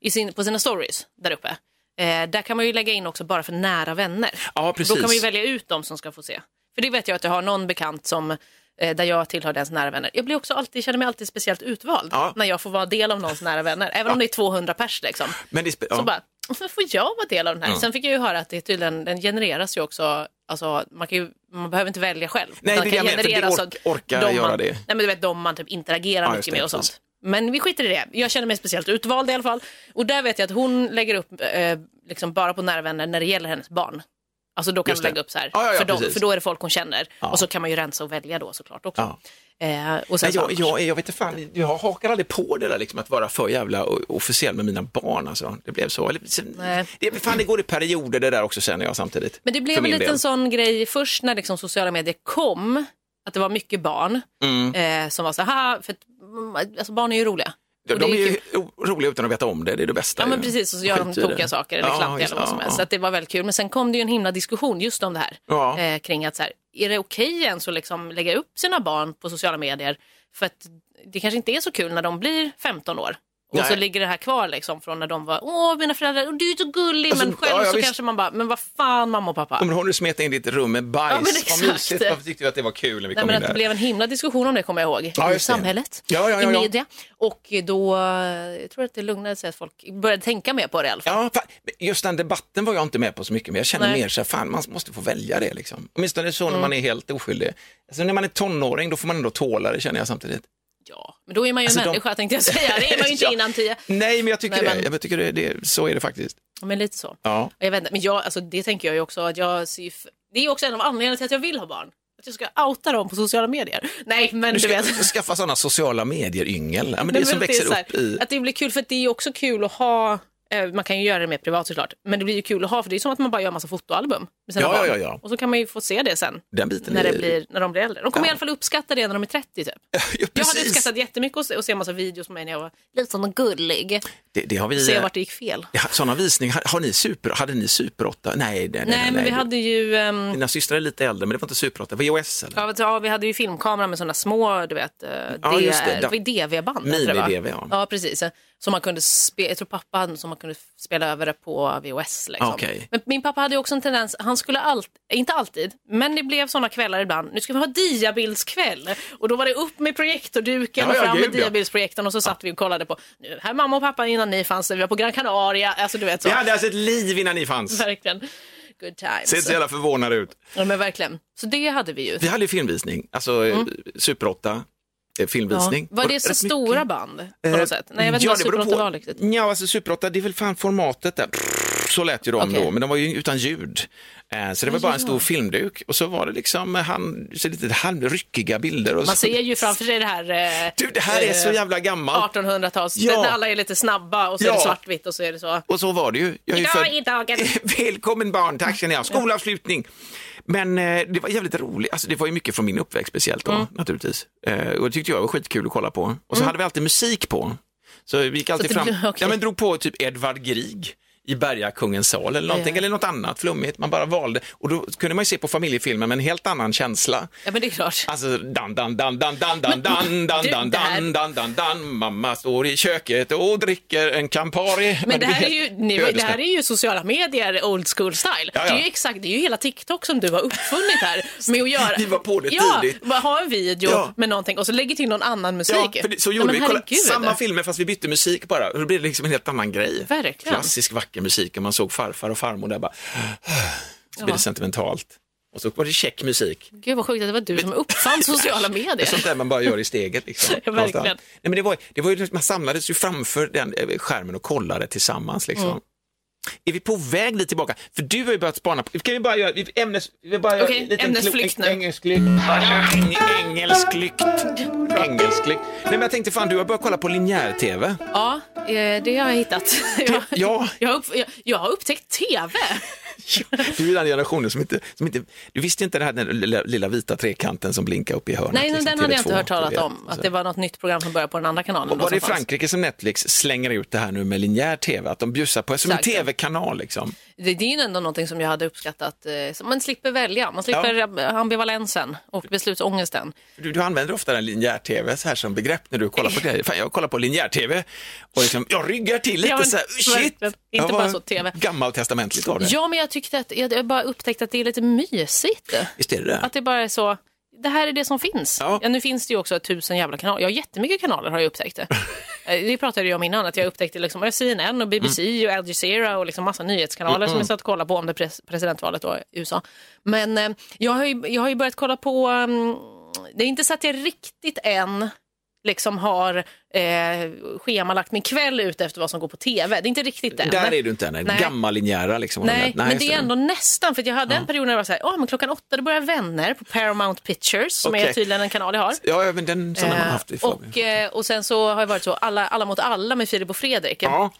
Speaker 1: i sin, på sina stories där uppe. Eh, där kan man ju lägga in också bara för nära vänner.
Speaker 2: Ja,
Speaker 1: Då kan man ju
Speaker 2: precis.
Speaker 1: välja ut dem som ska få se. För det vet jag att jag har någon bekant som eh, där jag tillhör dens nära vänner. Jag blir också alltid, känner mig alltid speciellt utvald
Speaker 2: Ja.
Speaker 1: när jag får vara del av någons nära vänner. Även om det är 200 pers liksom.
Speaker 2: Men det spe-
Speaker 1: Så
Speaker 2: ja.
Speaker 1: bara, varför får jag vara del av den här?
Speaker 2: Ja.
Speaker 1: Sen fick jag ju höra att det tydligen, den genereras ju också, alltså, man, kan ju, man behöver inte välja själv.
Speaker 2: Nej, det är
Speaker 1: Den kan
Speaker 2: det jag menar, för det
Speaker 1: genereras
Speaker 2: ork-
Speaker 1: av
Speaker 2: orkar
Speaker 1: de
Speaker 2: göra
Speaker 1: man,
Speaker 2: det.
Speaker 1: Nej, men du vet de man typ interagerar
Speaker 2: Ja, just
Speaker 1: mycket
Speaker 2: det,
Speaker 1: med och sånt.
Speaker 2: precis.
Speaker 1: Men vi skiter i det. Jag känner mig speciellt utvald i alla fall. Och där vet jag att hon lägger upp eh, liksom bara på nära vänner när det gäller hennes barn. Alltså då kan
Speaker 2: Just
Speaker 1: hon
Speaker 2: det.
Speaker 1: lägga upp så här,
Speaker 2: Ja, ja, ja,
Speaker 1: för, dem,
Speaker 2: precis.
Speaker 1: för då är det folk hon känner.
Speaker 2: Ja.
Speaker 1: Och så kan man ju rensa och välja då såklart också. Eh, och sen
Speaker 2: Nej,
Speaker 1: så
Speaker 2: jag,
Speaker 1: annars.
Speaker 2: jag, jag vet inte fan, jag hakar aldrig på det där liksom, att vara för jävla o- officiell med mina barn. Alltså. Det blev så. Eller, sen,
Speaker 1: Nej.
Speaker 2: det, fan, det går i perioder det där också känner jag samtidigt.
Speaker 1: Men det
Speaker 2: För
Speaker 1: blev en
Speaker 2: min
Speaker 1: liten
Speaker 2: del.
Speaker 1: sån grej först när liksom sociala medier kom, att det var mycket barn
Speaker 2: Mm.
Speaker 1: eh, som var så här, för att, mm, alltså barn är ju roliga.
Speaker 2: De,
Speaker 1: Och
Speaker 2: de
Speaker 1: det
Speaker 2: är
Speaker 1: gick
Speaker 2: ju o- roliga utan att veta om det, det är det bästa.
Speaker 1: Ja men
Speaker 2: ju.
Speaker 1: precis, och så gör de
Speaker 2: Skit i det.
Speaker 1: tokiga saker eller
Speaker 2: Ja,
Speaker 1: klantiga
Speaker 2: just-
Speaker 1: eller vad som
Speaker 2: ja,
Speaker 1: helst. Så
Speaker 2: ja.
Speaker 1: att det var väldigt kul. Men sen kom det ju en himla diskussion just om det här.
Speaker 2: Ja.
Speaker 1: Eh, kring att så här, är det okej ens att liksom lägga upp sina barn på sociala medier? För att det kanske inte är så kul när de blir 15 år. Och
Speaker 2: Nej.
Speaker 1: så ligger det här kvar liksom från när de var, åh mina föräldrar, och du är så gullig.
Speaker 2: Alltså,
Speaker 1: men själv
Speaker 2: ja, ja,
Speaker 1: så
Speaker 2: visst.
Speaker 1: kanske man bara, men vad fan mamma och pappa.
Speaker 2: Kommer du ihåg när du smet in ditt rum med bajs?
Speaker 1: Ja, men
Speaker 2: Vad
Speaker 1: exakt.
Speaker 2: mysigt, varför tyckte du att det var kul när vi
Speaker 1: Nej,
Speaker 2: kom
Speaker 1: men
Speaker 2: in
Speaker 1: att det
Speaker 2: där?
Speaker 1: blev en himla diskussion om det kommer jag ihåg
Speaker 2: Ja,
Speaker 1: i
Speaker 2: just det.
Speaker 1: samhället,
Speaker 2: Ja, ja, ja,
Speaker 1: i
Speaker 2: ja.
Speaker 1: media. Och då, eh, jag tror att det lugnade sig att folk började tänka mer på det i alla fall.
Speaker 2: Ja, fan, just den debatten var jag inte med på så mycket, men jag känner
Speaker 1: Nej. Mm.
Speaker 2: mer så här, fan man måste få välja det liksom. Åtminstone så när man är helt oskyldig. Alltså, när man är tonåring då får man ändå tåla det känner jag samtidigt.
Speaker 1: Ja, men då är man ju
Speaker 2: Alltså, de-
Speaker 1: människa tänkte jag säga, det är man ju inte
Speaker 2: Ja.
Speaker 1: innan tio.
Speaker 2: Nej, men jag tycker
Speaker 1: Nej,
Speaker 2: det.
Speaker 1: men-
Speaker 2: Jag tycker det, det. Så är det faktiskt.
Speaker 1: Men lite så.
Speaker 2: Ja.
Speaker 1: Jag vet inte, men jag, alltså, det tänker jag ju också att jag ser ju f- Det är ju också en av anledningarna till att jag vill ha barn. Att jag ska outa dem på sociala medier. Nej, men
Speaker 2: Du
Speaker 1: du,
Speaker 2: ska
Speaker 1: vet.
Speaker 2: skaffa sådana sociala medier-yngel. Ja, men det
Speaker 1: Nej,
Speaker 2: är som
Speaker 1: men att
Speaker 2: växer
Speaker 1: är så här,
Speaker 2: upp i...
Speaker 1: Att det blir kul, för att det är ju också kul att ha eh, man kan ju göra det mer privat såklart, men det blir ju kul att ha för det är som att man bara gör en massa fotoalbum med sina
Speaker 2: Ja,
Speaker 1: barn.
Speaker 2: ja, ja, ja.
Speaker 1: Och så kan man ju få se det sen
Speaker 2: Den biten
Speaker 1: när,
Speaker 2: är-
Speaker 1: det blir, när de blir äldre. De kommer
Speaker 2: Ja.
Speaker 1: i alla fall uppskatta det när de är 30 typ.
Speaker 2: Ja,
Speaker 1: Jag hade
Speaker 2: precis.
Speaker 1: uppskattat jättemycket att se, att se en massa videos med mig när jag var liten och gullig.
Speaker 2: Det, det har vi...
Speaker 1: Se
Speaker 2: eh,
Speaker 1: vart det gick fel.
Speaker 2: ja, Sådana visningar, har, har ni super, hade ni super 8? Nej, nej, nej.
Speaker 1: Nej,
Speaker 2: nej,
Speaker 1: men vi
Speaker 2: nej.
Speaker 1: hade ju ehm,
Speaker 2: Dina systrar är lite äldre, men det var inte super 8, VHS eller?
Speaker 1: Ja, vet du, ja, vi hade ju filmkamera med sådana små, du vet, eh,
Speaker 2: Ja,
Speaker 1: D-
Speaker 2: just det.
Speaker 1: det var ju DV-band.
Speaker 2: Mini-
Speaker 1: tror jag det var.
Speaker 2: DV, ja.
Speaker 1: ja, precis. Eh, Som man kunde spe- jag tror pappa hade som man kunde spela över det på VHS. Liksom.
Speaker 2: Okej.
Speaker 1: Men min pappa hade ju också en tendens, han skulle allt, inte alltid, men det blev sådana kvällar ibland. Nu ska vi ha diabildskväll. Och då var det upp med projektorduken
Speaker 2: Ja,
Speaker 1: och
Speaker 2: ja,
Speaker 1: fram
Speaker 2: gud,
Speaker 1: med
Speaker 2: ja.
Speaker 1: diabildsprojektorn och så satt vi och kollade på, nu här mamma och pappa innan ni fanns, där, vi var på Gran Canaria, alltså du vet så.
Speaker 2: Vi hade alltså ett liv innan ni fanns.
Speaker 1: Verkligen. Good
Speaker 2: Ser inte
Speaker 1: times.
Speaker 2: så jävla förvånade ut.
Speaker 1: Ja, men verkligen. Så det hade vi ju.
Speaker 2: Vi hade ju filmvisning, alltså eh, super 8, eh, filmvisning.
Speaker 1: Mm. Var
Speaker 2: Och
Speaker 1: det så
Speaker 2: rätt
Speaker 1: stora
Speaker 2: mycket.
Speaker 1: band på något
Speaker 2: Eh,
Speaker 1: sätt? Nej, jag vet inte vad
Speaker 2: det beror
Speaker 1: Super 8 var riktigt.
Speaker 2: Ja, alltså Super 8, det är väl fan formatet där. Prrr, Så lät ju de
Speaker 1: Okej.
Speaker 2: då, men de var ju utan ljud. Eh, Så det var bara en stor filmduk och så var det liksom eh, han, så lite halvryckiga bilder. Och
Speaker 1: Man
Speaker 2: så.
Speaker 1: ser ju framför sig det här... Eh,
Speaker 2: Alltså, Du, det här är så jävla gammalt.
Speaker 1: 1800-tals,
Speaker 2: Ja.
Speaker 1: när alla är lite snabba och så är
Speaker 2: Ja.
Speaker 1: det svartvitt och så är det så.
Speaker 2: Och så var det ju. Jag är ju
Speaker 1: Idag är dagen.
Speaker 2: Välkommen barn, tack känner jag. Skolavslutning. Men eh, det var jävligt roligt. Alltså, det var ju mycket från min uppväxt speciellt då,
Speaker 1: Mm.
Speaker 2: naturligtvis. Eh, och det tyckte jag var skitkul att kolla på. Och så hade vi alltid musik på. Så vi gick alltid
Speaker 1: det
Speaker 2: fram,
Speaker 1: blev- okej.
Speaker 2: ja, men drog på typ Edvard Grieg i Bergakungens sal eller någonting,
Speaker 1: Ja.
Speaker 2: eller något annat flummigt. Man bara valde. Och då kunde man ju se på familjefilmen med en helt annan känsla.
Speaker 1: Ja, men det är klart.
Speaker 2: Alltså dan dan dan dan dan dan dan dan
Speaker 1: du,
Speaker 2: dan
Speaker 1: det här-
Speaker 2: dan dan dan dan Mamma står i köket och dricker en Campari.
Speaker 1: Men det här, är ju, nu, det
Speaker 2: ödesmätt.
Speaker 1: här är ju sociala medier old school style.
Speaker 2: Ja, ja.
Speaker 1: Det är ju exakt, det är ju hela TikTok som du har uppfunnit här med att göra.
Speaker 2: Vi var på det
Speaker 1: ja,
Speaker 2: tidigt.
Speaker 1: bara Ha en video
Speaker 2: Ja.
Speaker 1: med någonting och så lägger till någon annan musik.
Speaker 2: Ja, för det, så gjorde
Speaker 1: Nej,
Speaker 2: vi.
Speaker 1: men
Speaker 2: Kolla,
Speaker 1: herregud.
Speaker 2: samma filmer fast vi bytte musik bara. Och Då blev det liksom en helt annan grej.
Speaker 1: Verkligen.
Speaker 2: Klassisk vacker musik och man såg farfar och farmor där bara. Så blev
Speaker 1: Ja.
Speaker 2: det sentimentalt. Och så var det käck musik.
Speaker 1: Gud vad sjukt att det var du som uppfann sociala medier.
Speaker 2: Sånt där man bara gör i steget. Liksom,
Speaker 1: Ja, verkligen.
Speaker 2: någonstans. Nej, men det var, det var ju, liksom- man samlades ju framför den eh, skärmen och kollade tillsammans. Liksom.
Speaker 1: Mm.
Speaker 2: Är vi på väg lite tillbaka? För du har ju börjat spana på... Kan vi bara göra vi- ämnes... Vi bara gör
Speaker 1: Okej,
Speaker 2: en liten
Speaker 1: ämnesflykt
Speaker 2: klo-
Speaker 1: nu.
Speaker 2: Engelsklykt. Eng- Engelsklykt. Engelsklykt. Nej, men jag tänkte fan, du har börjat kolla på linjär-tv.
Speaker 1: Ja, eh, det har jag hittat. Jag,
Speaker 2: ja.
Speaker 1: jag, har upp, jag, jag har upptäckt TV.
Speaker 2: Du är den generationen som inte, som inte... Du visste inte det här, den lilla, lilla vita trekanten som blinkar upp i hörnet.
Speaker 1: Nej, men
Speaker 2: liksom,
Speaker 1: den hade jag inte
Speaker 2: TV2,
Speaker 1: hört talat
Speaker 2: TV1,
Speaker 1: om.
Speaker 2: så.
Speaker 1: Att det var något nytt program som började på den andra kanalen.
Speaker 2: Och
Speaker 1: då
Speaker 2: var det i
Speaker 1: som fanns.
Speaker 2: Frankrike som Netflix slänger ut det här nu med linjär tv? Att de bjussar på det som en
Speaker 1: Exakt.
Speaker 2: tv-kanal liksom.
Speaker 1: Det, det är ju ändå någonting som jag hade uppskattat. eh, så Man slipper välja, man slipper eh, ambivalensen och beslutsångesten.
Speaker 2: Du, du använder ofta den linjär-tv så här som begrepp när du kollar på grejer. Fan, jag kollar på linjär-tv och liksom, jag ryggar till lite
Speaker 1: Ja, men
Speaker 2: så här, shit!
Speaker 1: verkligen. Inte
Speaker 2: Jag
Speaker 1: bara
Speaker 2: var
Speaker 1: så, TV.
Speaker 2: Gammaltestamentligt av det.
Speaker 1: Ja, men jag tyckte att, jag jag bara upptäckte att det är lite mysigt.
Speaker 2: Visst är det det?
Speaker 1: Att det bara är så, det här är det som finns.
Speaker 2: Ja.
Speaker 1: Ja. nu finns det ju också tusen jävla kanaler. Jag har jättemycket kanaler har jag upptäckt. det. Eh, det pratade jag om innan, att jag upptäckte liksom CNN och
Speaker 2: Mm.
Speaker 1: BBC och Al Jazeera och liksom massa nyhetskanaler som jag satt och kollade på om det pres- presidentvalet då i USA. Men eh, jag, har ju, jag har ju börjat kolla på, mm, det är inte så att jag riktigt än liksom har eh, schemalagt min kväll ut efter vad som går på tv. Det är inte riktigt än.
Speaker 2: Där är du inte än,
Speaker 1: Nej.
Speaker 2: gammallinjära liksom.
Speaker 1: Nej, men
Speaker 2: just
Speaker 1: det är ändå nästan. För att jag hade en period när jag var så här, "Åh, men klockan åtta då börjar Vänner på Paramount Pictures, som
Speaker 2: Okej.
Speaker 1: är tydligen en kanal jag har.
Speaker 2: Ja, ja, men den som har man
Speaker 1: Eh,
Speaker 2: haft i
Speaker 1: och, eh, och sen så har jag varit så, alla, alla mot alla med Filip och Fredrik.
Speaker 2: Ja,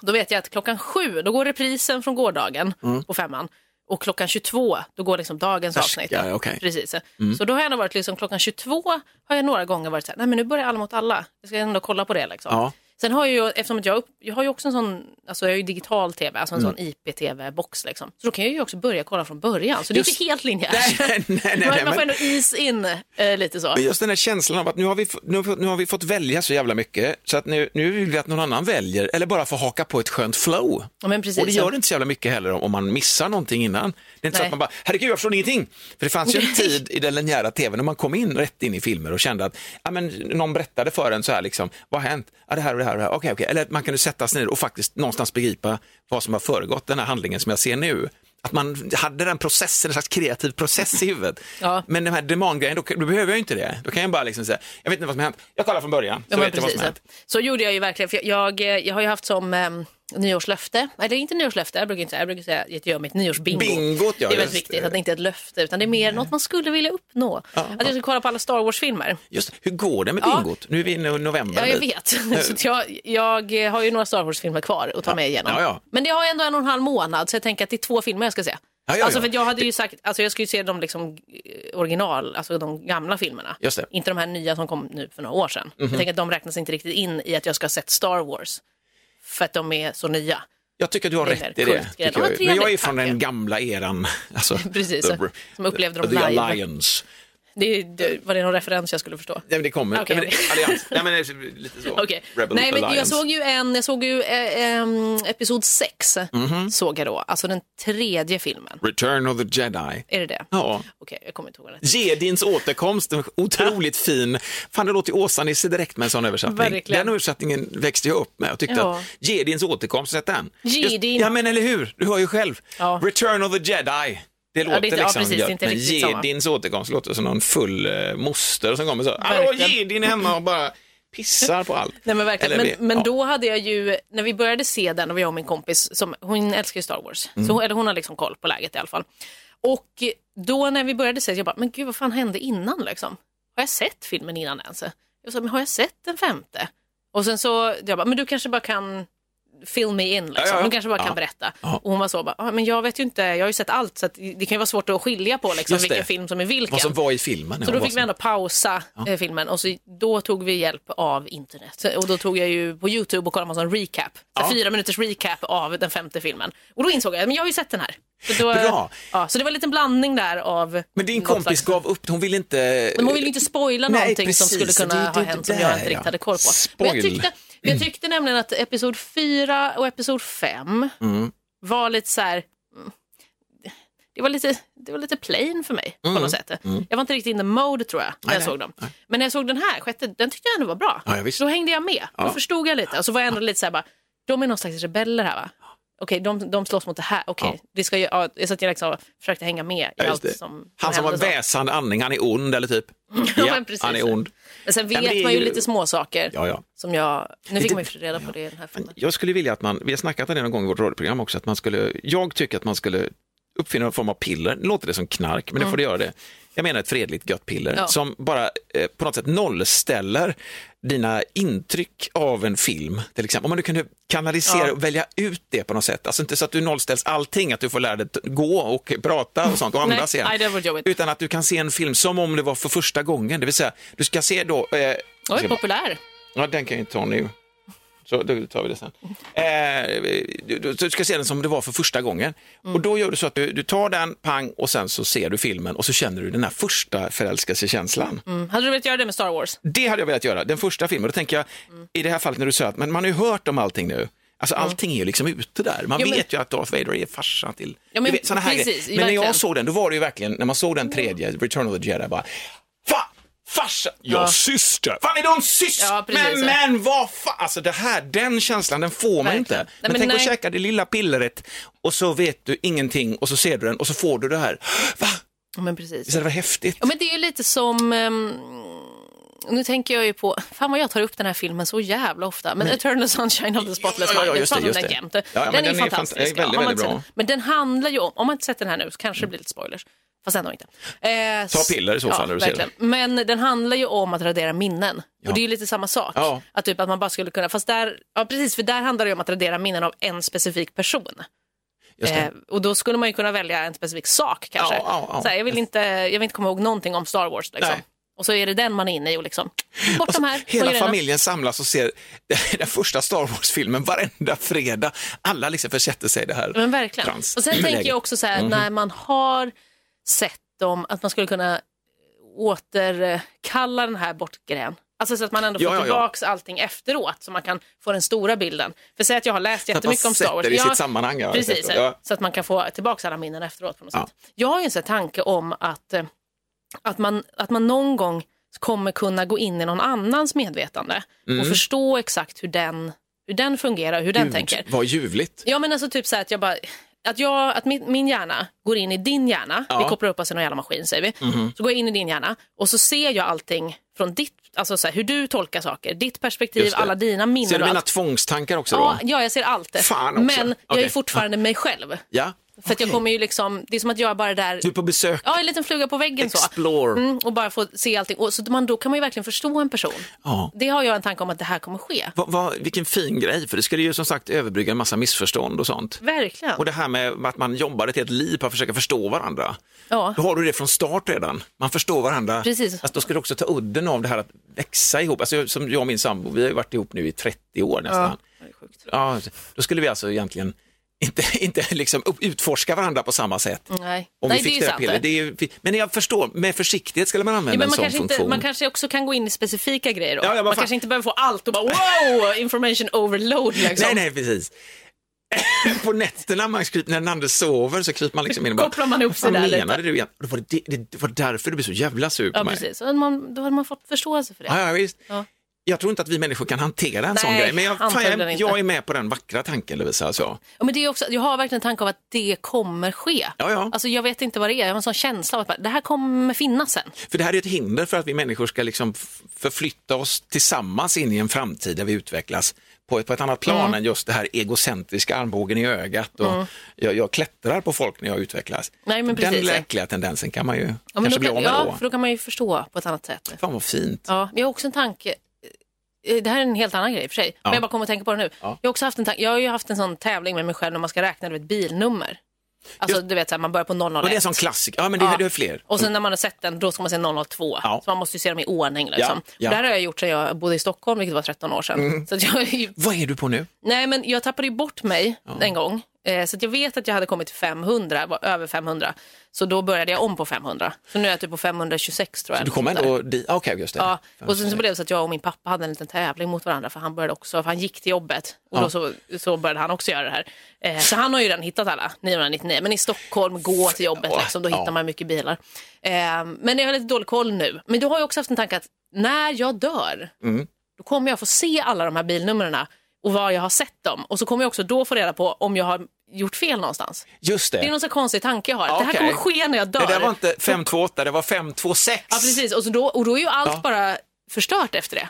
Speaker 1: Då vet jag att klockan sju, då går reprisen från gårdagen på femman. Och klockan 22, då går liksom dagens
Speaker 2: Mm. Färska,
Speaker 1: avsnitt.
Speaker 2: ja, okej. Mm.
Speaker 1: Precis. Så då har jag ändå varit liksom, klockan 22 har jag några gånger varit så här, nej men nu börjar alla mot alla. Jag ska ändå kolla på det liksom.
Speaker 2: ja.
Speaker 1: Sen har jag ju, eftersom att jag, upp- jag har ju också en sån, alltså jag har ju digital tv, alltså
Speaker 2: Mm.
Speaker 1: en sån IPTV-box liksom. Så då kan jag ju också börja kolla från början, så det är
Speaker 2: Just-
Speaker 1: inte helt linjärt.
Speaker 2: Nej, nej, nej, nej,
Speaker 1: man, man
Speaker 2: men-
Speaker 1: får ändå is in eh, lite så.
Speaker 2: Men just den här känslan av att nu har, vi, f- nu, har vi fått- nu har vi fått välja så jävla mycket så att nu, nu vill vi att någon annan väljer eller bara får haka på ett skönt flow.
Speaker 1: Ja, men precis.
Speaker 2: Och det gör det inte så jävla mycket heller om, om man missar någonting innan. Det är inte så
Speaker 1: Nej.
Speaker 2: att man bara, herregud jag förstår ingenting. För det fanns ju en tid i den linjära tvn när man kom in rätt in i filmer och kände att ja, men, någon berättade för en så här, liksom, vad har hänt? Ja, det här och det här och det här. Okej, okej. Eller att man kunde sätta sig ner och faktiskt någonstans begripa vad som har föregått den här handlingen som jag ser nu. Att man hade den processen, en slags kreativ process i huvudet.
Speaker 1: Ja.
Speaker 2: Men den här demangrejen, då, då behöver jag ju inte det. Då kan jag bara liksom säga, jag vet inte vad som har hänt, jag kollar från början. Så
Speaker 1: Ja, men
Speaker 2: vet jag vad som har hänt.
Speaker 1: Så gjorde jag ju verkligen, för jag, eh, jag, jag har ju haft som ehm, nyårslöfte, eller inte nyårslöfte, jag brukar inte säga, jag brukar säga att jag gör mitt nyårsbingo.
Speaker 2: Bingot, ja,
Speaker 1: det är
Speaker 2: just
Speaker 1: väldigt
Speaker 2: det. Mm.
Speaker 1: viktigt att det inte är ett löfte, utan det är mer något man skulle vilja uppnå. att jag ska kolla på alla Star Wars-filmer.
Speaker 2: Just, hur går det med
Speaker 1: Ja.
Speaker 2: bingot? Nu är vi inne i november.
Speaker 1: Ja, jag
Speaker 2: nu.
Speaker 1: vet. Så att jag, jag har ju några Star Wars-filmer kvar att ta med igenom.
Speaker 2: Ja, ja.
Speaker 1: Men det har jag ändå en och en halv månad, så jag tänker att det är två filmer jag ska se.
Speaker 2: Ja, ja,
Speaker 1: Alltså
Speaker 2: ja.
Speaker 1: för att jag hade ju sagt, alltså jag ska ju se de liksom eh, original, alltså de gamla filmerna.
Speaker 2: Just det. Mhm.
Speaker 1: Inte de här nya som kom nu för några år sedan. Jag tänker att de räknas inte riktigt in i att jag ska ha sett Star Wars. För att de är så nya.
Speaker 2: Jag tycker att du har
Speaker 1: Det är
Speaker 2: rätt i
Speaker 1: mer
Speaker 2: det.
Speaker 1: kultgrej.
Speaker 2: tycker
Speaker 1: Ja,
Speaker 2: Jag. Men jag är
Speaker 1: trevligt,
Speaker 2: från den
Speaker 1: tack.
Speaker 2: gamla eran. Alltså,
Speaker 1: Precis, som upplevde dem
Speaker 2: the
Speaker 1: live.
Speaker 2: Alliance.
Speaker 1: Det, är- det, var det någon referens jag skulle förstå?
Speaker 2: Nej, men det kommer.
Speaker 1: Okej,
Speaker 2: Nej, men,
Speaker 1: okej.
Speaker 2: allians. Nej, men det är lite så.
Speaker 1: Okej.
Speaker 2: Rebel
Speaker 1: Nej, men jag
Speaker 2: Alliance.
Speaker 1: såg ju en, jag såg ju eh, ehm, episod 6,
Speaker 2: Mhm.
Speaker 1: såg jag då. Alltså den tredje filmen.
Speaker 2: Return of the Jedi.
Speaker 1: Är det det?
Speaker 2: Ja.
Speaker 1: Okej, jag kommer inte ihåg vad den heter.
Speaker 2: Jedins återkomst, en otroligt fin. Fan, det låter ju Åsa-Nisse direkt med en sån översättning.
Speaker 1: Verkligen.
Speaker 2: Den översättningen växte jag upp med och tyckte
Speaker 1: Ja.
Speaker 2: att Jedins återkomst, sätt den. Just-
Speaker 1: Jedin.
Speaker 2: Ja, men eller hur? Du hör ju själv.
Speaker 1: Ja.
Speaker 2: Return of the Jedi. Det låter
Speaker 1: det är inte- ja,
Speaker 2: liksom
Speaker 1: precis,
Speaker 2: gött,
Speaker 1: inte
Speaker 2: men
Speaker 1: riktigt samma.
Speaker 2: Jedins återkomst låter som någon full eh, moster som kommer så. Hallå,
Speaker 1: Verkligen.
Speaker 2: Jedin är hemma och bara pissar på allt.
Speaker 1: Nej men verkligen,
Speaker 2: Eller
Speaker 1: men,
Speaker 2: det-
Speaker 1: men
Speaker 2: ja.
Speaker 1: då hade jag ju, när vi började se den, och jag och min kompis, som, hon älskar ju Star Wars,
Speaker 2: Mm.
Speaker 1: så, hon- eller hon har liksom koll på läget i alla fall. Och då när vi började se den, jag bara, men gud vad fan hände innan liksom? Har jag sett filmen innan ens? Jag sa, men har jag sett den femte? Och sen så, jag bara, men du kanske bara kan fill me in liksom.
Speaker 2: Ja, ja, ja.
Speaker 1: Du kanske bara kan
Speaker 2: Ja.
Speaker 1: berätta.
Speaker 2: Ja.
Speaker 1: Och hon var så, bara, ah, men jag vet ju inte, jag har ju sett allt så att det kan ju vara svårt att skilja på liksom,
Speaker 2: Just det.
Speaker 1: vilken film som är vilken.
Speaker 2: Vad som var i filmen.
Speaker 1: Så
Speaker 2: ja,
Speaker 1: då
Speaker 2: vad
Speaker 1: fick vi
Speaker 2: som-
Speaker 1: ändå pausa eh, filmen och så, då tog vi hjälp av internet. Och då tog jag ju på YouTube och kollade på en sån recap. Så Fyra minuters recap av den femte filmen. Och då insåg jag att jag har ju sett den här. Så, då,
Speaker 2: Bra.
Speaker 1: Ja, så det var en liten blandning där av...
Speaker 2: Men din
Speaker 1: något
Speaker 2: kompis
Speaker 1: slags-
Speaker 2: gav upp, hon ville inte...
Speaker 1: men hon ville ju inte spoila
Speaker 2: Nej,
Speaker 1: någonting som
Speaker 2: precis.
Speaker 1: skulle kunna
Speaker 2: Det- det-
Speaker 1: ha
Speaker 2: det
Speaker 1: hänt som
Speaker 2: där,
Speaker 1: jag inte
Speaker 2: ja.
Speaker 1: riktigt hade koll på. Men jag
Speaker 2: Spoil.
Speaker 1: tyckte, jag tyckte nämligen att episod 4 och episod 5
Speaker 2: Mm.
Speaker 1: var lite så här... mm, Det var lite, det var lite plain för mig på något sätt. Jag var inte riktigt in the mode tror jag när
Speaker 2: Mm.
Speaker 1: jag
Speaker 2: nej.
Speaker 1: såg dem. Men när jag såg den här sjätte, den tyckte jag ändå var bra.
Speaker 2: Ja, ja, visst.
Speaker 1: Då hängde jag med.
Speaker 2: Ja.
Speaker 1: Då förstod jag lite. Och så var jag ändå lite så här bara, de är någon slags rebeller här va? Okej, de, de slåss mot det här. Okej, det ska jag, ja, så att jag liksom försökte hänga med i
Speaker 2: Ja, just
Speaker 1: allt
Speaker 2: det.
Speaker 1: som, som
Speaker 2: han som har
Speaker 1: hände så.
Speaker 2: väsande andning, han är ond eller typ.
Speaker 1: Ja, men precis.
Speaker 2: han är ond.
Speaker 1: Men sen
Speaker 2: men
Speaker 1: vet
Speaker 2: det är
Speaker 1: man ju
Speaker 2: ju-
Speaker 1: lite småsaker.
Speaker 2: Ja, ja.
Speaker 1: Som jag... Nu fick
Speaker 2: Det-
Speaker 1: man ju reda på det i den här filmen.
Speaker 2: Jag skulle vilja att man, vi har snackat om det någon gång i vårt radioprogram också, att man skulle, jag tycker att man skulle uppfinna någon form av piller, nu låter det som knark, men det får det göra det. Jag menar ett fredligt gött piller
Speaker 1: Ja.
Speaker 2: som bara eh, på något sätt nollställer dina intryck av en film, till exempel. Om man nu kunde kanalisera
Speaker 1: Ja.
Speaker 2: och välja ut det på något sätt, alltså inte så att du nollställs allting, att du får lära dig att gå och prata och sånt och
Speaker 1: Nej,
Speaker 2: andas igen.
Speaker 1: nej, det hade varit jobbigt.
Speaker 2: Utan att du kan se en film som om det var för första gången, det vill säga, du ska se då... Eh,
Speaker 1: Oj,
Speaker 2: ska-
Speaker 1: populär.
Speaker 2: Ja, den kan jag inte ta nu. Så då tar vi det sen. Eh, du, du, du ska se den som det var för första gången. Och då gör du så att du, du tar den, pang, och sen så ser du filmen och så känner du den här första förälskelsekänslan.
Speaker 1: Mm. Hade du velat göra det med Star Wars?
Speaker 2: Det hade jag velat göra, den första filmen. Då tänker jag, i det här fallet när du säger att men man har ju hört om allting nu. Alltså allting är ju liksom ute där. Man
Speaker 1: Jo, men-
Speaker 2: vet ju att Darth Vader är farsan till...
Speaker 1: Ja, men
Speaker 2: du vet, såna här
Speaker 1: precis,
Speaker 2: grejer. men när
Speaker 1: verkligen.
Speaker 2: jag såg den, då var det ju verkligen, när man såg den tredje, Return of the Jedi, bara, fan, farsan, ja, syster, fan är de syster?
Speaker 1: Ja, precis,
Speaker 2: men,
Speaker 1: ja.
Speaker 2: men vad fan, alltså det här, den känslan, den får man
Speaker 1: Verkligen.
Speaker 2: inte.
Speaker 1: Nej,
Speaker 2: Men,
Speaker 1: men
Speaker 2: tänk att
Speaker 1: nej.
Speaker 2: käka det lilla pillret och så vet du ingenting och så ser du den och så får du det här, va?
Speaker 1: Ja, men precis.
Speaker 2: Visst hade det var häftigt?
Speaker 1: Ja, men det är ju lite som... ehm, nu tänker jag ju på, fan vad jag tar upp den här filmen så jävla ofta, men Eternal Sunshine of the Spotless
Speaker 2: Ja, ja, ja,
Speaker 1: Mind,
Speaker 2: just det,
Speaker 1: jag pratar om
Speaker 2: just
Speaker 1: den
Speaker 2: det.
Speaker 1: jämt.
Speaker 2: Ja, ja, men
Speaker 1: den är
Speaker 2: den är fant-
Speaker 1: fantastisk.
Speaker 2: är väldigt,
Speaker 1: Ja, har man
Speaker 2: väldigt
Speaker 1: inte
Speaker 2: bra.
Speaker 1: sett den. Men den handlar ju om, om man inte sett den här nu så kanske det blir lite spoilers, fast ändå inte. Eh,
Speaker 2: Ta piller i så
Speaker 1: s-
Speaker 2: fall när du ser
Speaker 1: verkligen. Men den handlar ju om att radera minnen. Och det är ju lite samma sak.
Speaker 2: Ja.
Speaker 1: Att, typ att man bara skulle kunna, fast där, ja precis, för där handlar det ju om att radera minnen av en specifik person.
Speaker 2: Just det.
Speaker 1: Eh, och då skulle man ju kunna välja en specifik sak kanske.
Speaker 2: Ja, ja, ja.
Speaker 1: Så här, jag, vill inte, jag vill inte komma ihåg någonting om Star Wars. Liksom.
Speaker 2: Nej.
Speaker 1: Och så är det den man är inne i och liksom, bort
Speaker 2: Och så
Speaker 1: de här.
Speaker 2: hela
Speaker 1: små grejerna.
Speaker 2: familjen samlas och ser den första Star Wars-filmen varenda fredag. Alla liksom försätter sig i det här.
Speaker 1: Men verkligen.
Speaker 2: Trans.
Speaker 1: Och sen tänker
Speaker 2: Läget. Mhm.
Speaker 1: jag också så här, när man har sett dem, att man skulle kunna återkalla den här bortgren. Alltså så att man ändå
Speaker 2: Ja,
Speaker 1: får
Speaker 2: ja, ja.
Speaker 1: tillbaks allting efteråt så man kan få den stora bilden. För säg att jag har läst
Speaker 2: att man
Speaker 1: jättemycket om Star Wars.
Speaker 2: sätter det i
Speaker 1: Ja,
Speaker 2: sitt sammanhang, ja.
Speaker 1: Precis,
Speaker 2: Ja.
Speaker 1: så att man kan få tillbaka alla minnen efteråt på något
Speaker 2: Ja.
Speaker 1: sätt. Jag har ju en sån här tanke om att, eh, att, man, att man någon gång kommer kunna gå in i någon annans medvetande
Speaker 2: Mm.
Speaker 1: och förstå exakt hur den, hur den fungerar, hur den tänker.
Speaker 2: Vad ljuvligt.
Speaker 1: Ja men alltså typ så här att jag bara, att, jag, att min, min hjärna går in i din hjärna, vi kopplar upp oss i någon jävla maskin säger vi,
Speaker 2: Mhm.
Speaker 1: så går jag in i din hjärna och så ser jag allting från ditt, alltså så här, hur du tolkar saker, ditt perspektiv,
Speaker 2: Just det.
Speaker 1: alla dina minnen
Speaker 2: Ser du
Speaker 1: och
Speaker 2: mina
Speaker 1: allt.
Speaker 2: tvångstankar också då?
Speaker 1: Ja, ja, jag ser allt det.
Speaker 2: Fan också.
Speaker 1: men jag är
Speaker 2: Okej.
Speaker 1: ju fortfarande mig själv.
Speaker 2: Ja.
Speaker 1: För att jag kommer ju liksom, det är som att jag är bara där,
Speaker 2: Du är på besök.
Speaker 1: ja en liten fluga på väggen
Speaker 2: Explore.
Speaker 1: så. Mm, och bara få se allting. Och så man, då kan man ju verkligen förstå en person.
Speaker 2: Ja.
Speaker 1: Det har jag en tanke om att det här kommer ske.
Speaker 2: Va, va, vilken fin grej, för det skulle ju som sagt överbrygga en massa missförstånd och
Speaker 1: Mm.
Speaker 2: sånt.
Speaker 1: Verkligen.
Speaker 2: Och det här med att man jobbar ett helt liv på att försöka förstå varandra.
Speaker 1: Ja.
Speaker 2: Då har du det från start redan. Man förstår varandra.
Speaker 1: Precis.
Speaker 2: Fast då ska du också ta udden av det här att växa ihop. Alltså, jag- som jag och min sambo, vi har ju varit ihop nu i 30 år nästan. Ja, då skulle vi alltså egentligen inte, inte liksom upp- utforska varandra på samma sätt.
Speaker 1: Nej,
Speaker 2: Om
Speaker 1: Mm. Nej
Speaker 2: vi fick
Speaker 1: det är ju
Speaker 2: det här
Speaker 1: sant.
Speaker 2: pillret. Det är ju, men jag förstår, med försiktighet skulle man använda
Speaker 1: Ja, men
Speaker 2: en
Speaker 1: man,
Speaker 2: sån
Speaker 1: kanske inte,
Speaker 2: funktion.
Speaker 1: man kanske också kan gå in i specifika grejer. Då.
Speaker 2: Ja, ja, vad
Speaker 1: man
Speaker 2: fan.
Speaker 1: kanske inte behöver få allt och bara wow, information overload. Liksom.
Speaker 2: Nej, nej, precis. på nätterna man kryper, när den andra sover så kryper man liksom in och bara,
Speaker 1: Kopplar man upp sig
Speaker 2: "Vad fan
Speaker 1: där lite."
Speaker 2: menade du igen? Och då var det, det, det var därför du blev så jävla sur på
Speaker 1: Ja,
Speaker 2: mig.
Speaker 1: precis. Så hade man, då hade man fått förståelse för det.
Speaker 2: Ja, ja, visst.
Speaker 1: Ja.
Speaker 2: Jag tror inte att vi människor kan hantera en sån
Speaker 1: Nej,
Speaker 2: grej, men jag, fan,
Speaker 1: antagligen
Speaker 2: jag,
Speaker 1: inte.
Speaker 2: jag är med på den vackra tanken Lovisa. Alltså.
Speaker 1: Ja, men det är också, jag har verkligen en tanke om att det kommer ske.
Speaker 2: Ja, ja.
Speaker 1: Alltså, jag vet inte vad det är, jag har en sån känsla av att bara, det här kommer finnas sen.
Speaker 2: För det här är ett hinder för att vi människor ska liksom f- förflytta oss tillsammans in i en framtid där vi utvecklas på ett, på ett annat
Speaker 1: Mm.
Speaker 2: plan än just det här egocentriska armbågen i ögat och jag, jag klättrar på folk när jag utvecklas.
Speaker 1: Nej, men
Speaker 2: den
Speaker 1: precis.
Speaker 2: läkliga tendensen kan man ju
Speaker 1: Ja, men
Speaker 2: kanske
Speaker 1: då
Speaker 2: bli
Speaker 1: kan,
Speaker 2: av med
Speaker 1: ja,
Speaker 2: då.
Speaker 1: för då kan man ju förstå på ett annat sätt.
Speaker 2: Fan vad fint.
Speaker 1: Ja, men jag har också en tanke. eh, Det här är en helt annan grej i och för sig, men jag bara kommer att tänka på det nu. Jag, har också haft en tanke, jag har ju haft en sån tävling med mig själv när man ska räkna du vet, bilnummer. Alltså du vet, så här, man börjar på 001.
Speaker 2: Och det är en sån klassiker, ja men det,
Speaker 1: Ja.
Speaker 2: det är fler.
Speaker 1: Och sen när man har sett den, då ska man se 002.
Speaker 2: Ja.
Speaker 1: Så man måste ju se dem i ordning. Liksom.
Speaker 2: Ja, Mm. ja.
Speaker 1: Det här har jag gjort sedan jag bodde i Stockholm, vilket var 13 år sedan. Så att jag, är ju-
Speaker 2: Vad är du på nu?
Speaker 1: nej, men jag tappade ju bort mig en gång. Eh, Så att jag vet att jag hade kommit till 500, var över 500. Så då började jag om på 500. Så nu är jag typ på 526 tror jag.
Speaker 2: Du kommer
Speaker 1: Sånt där.
Speaker 2: ändå dit, Ah, okej just det.
Speaker 1: Ja, och sen så blev det så att jag och min pappa hade en liten tävling mot varandra för han började också, för han gick till jobbet och då så, så började han också göra det här. Eh, så han har ju redan hittat alla 999, men i Stockholm, gå till jobbet liksom, då hittar
Speaker 2: Ja.
Speaker 1: man mycket bilar. Eh, men jag har lite dålig koll nu. Men du har ju också haft en tanke att när jag dör,
Speaker 2: Mm.
Speaker 1: då kommer jag få se alla de här bilnumren och var jag har sett dem. Och så kommer jag också då få reda på om jag har gjort fel någonstans.
Speaker 2: Just
Speaker 1: Det är
Speaker 2: det.
Speaker 1: någon sån konstig tanke jag har. Det här
Speaker 2: Okej.
Speaker 1: kommer ske när jag dör.
Speaker 2: Det där var inte 528, det var 526.
Speaker 1: Ja, precis. Och, så då, och då är ju allt bara förstört efter det.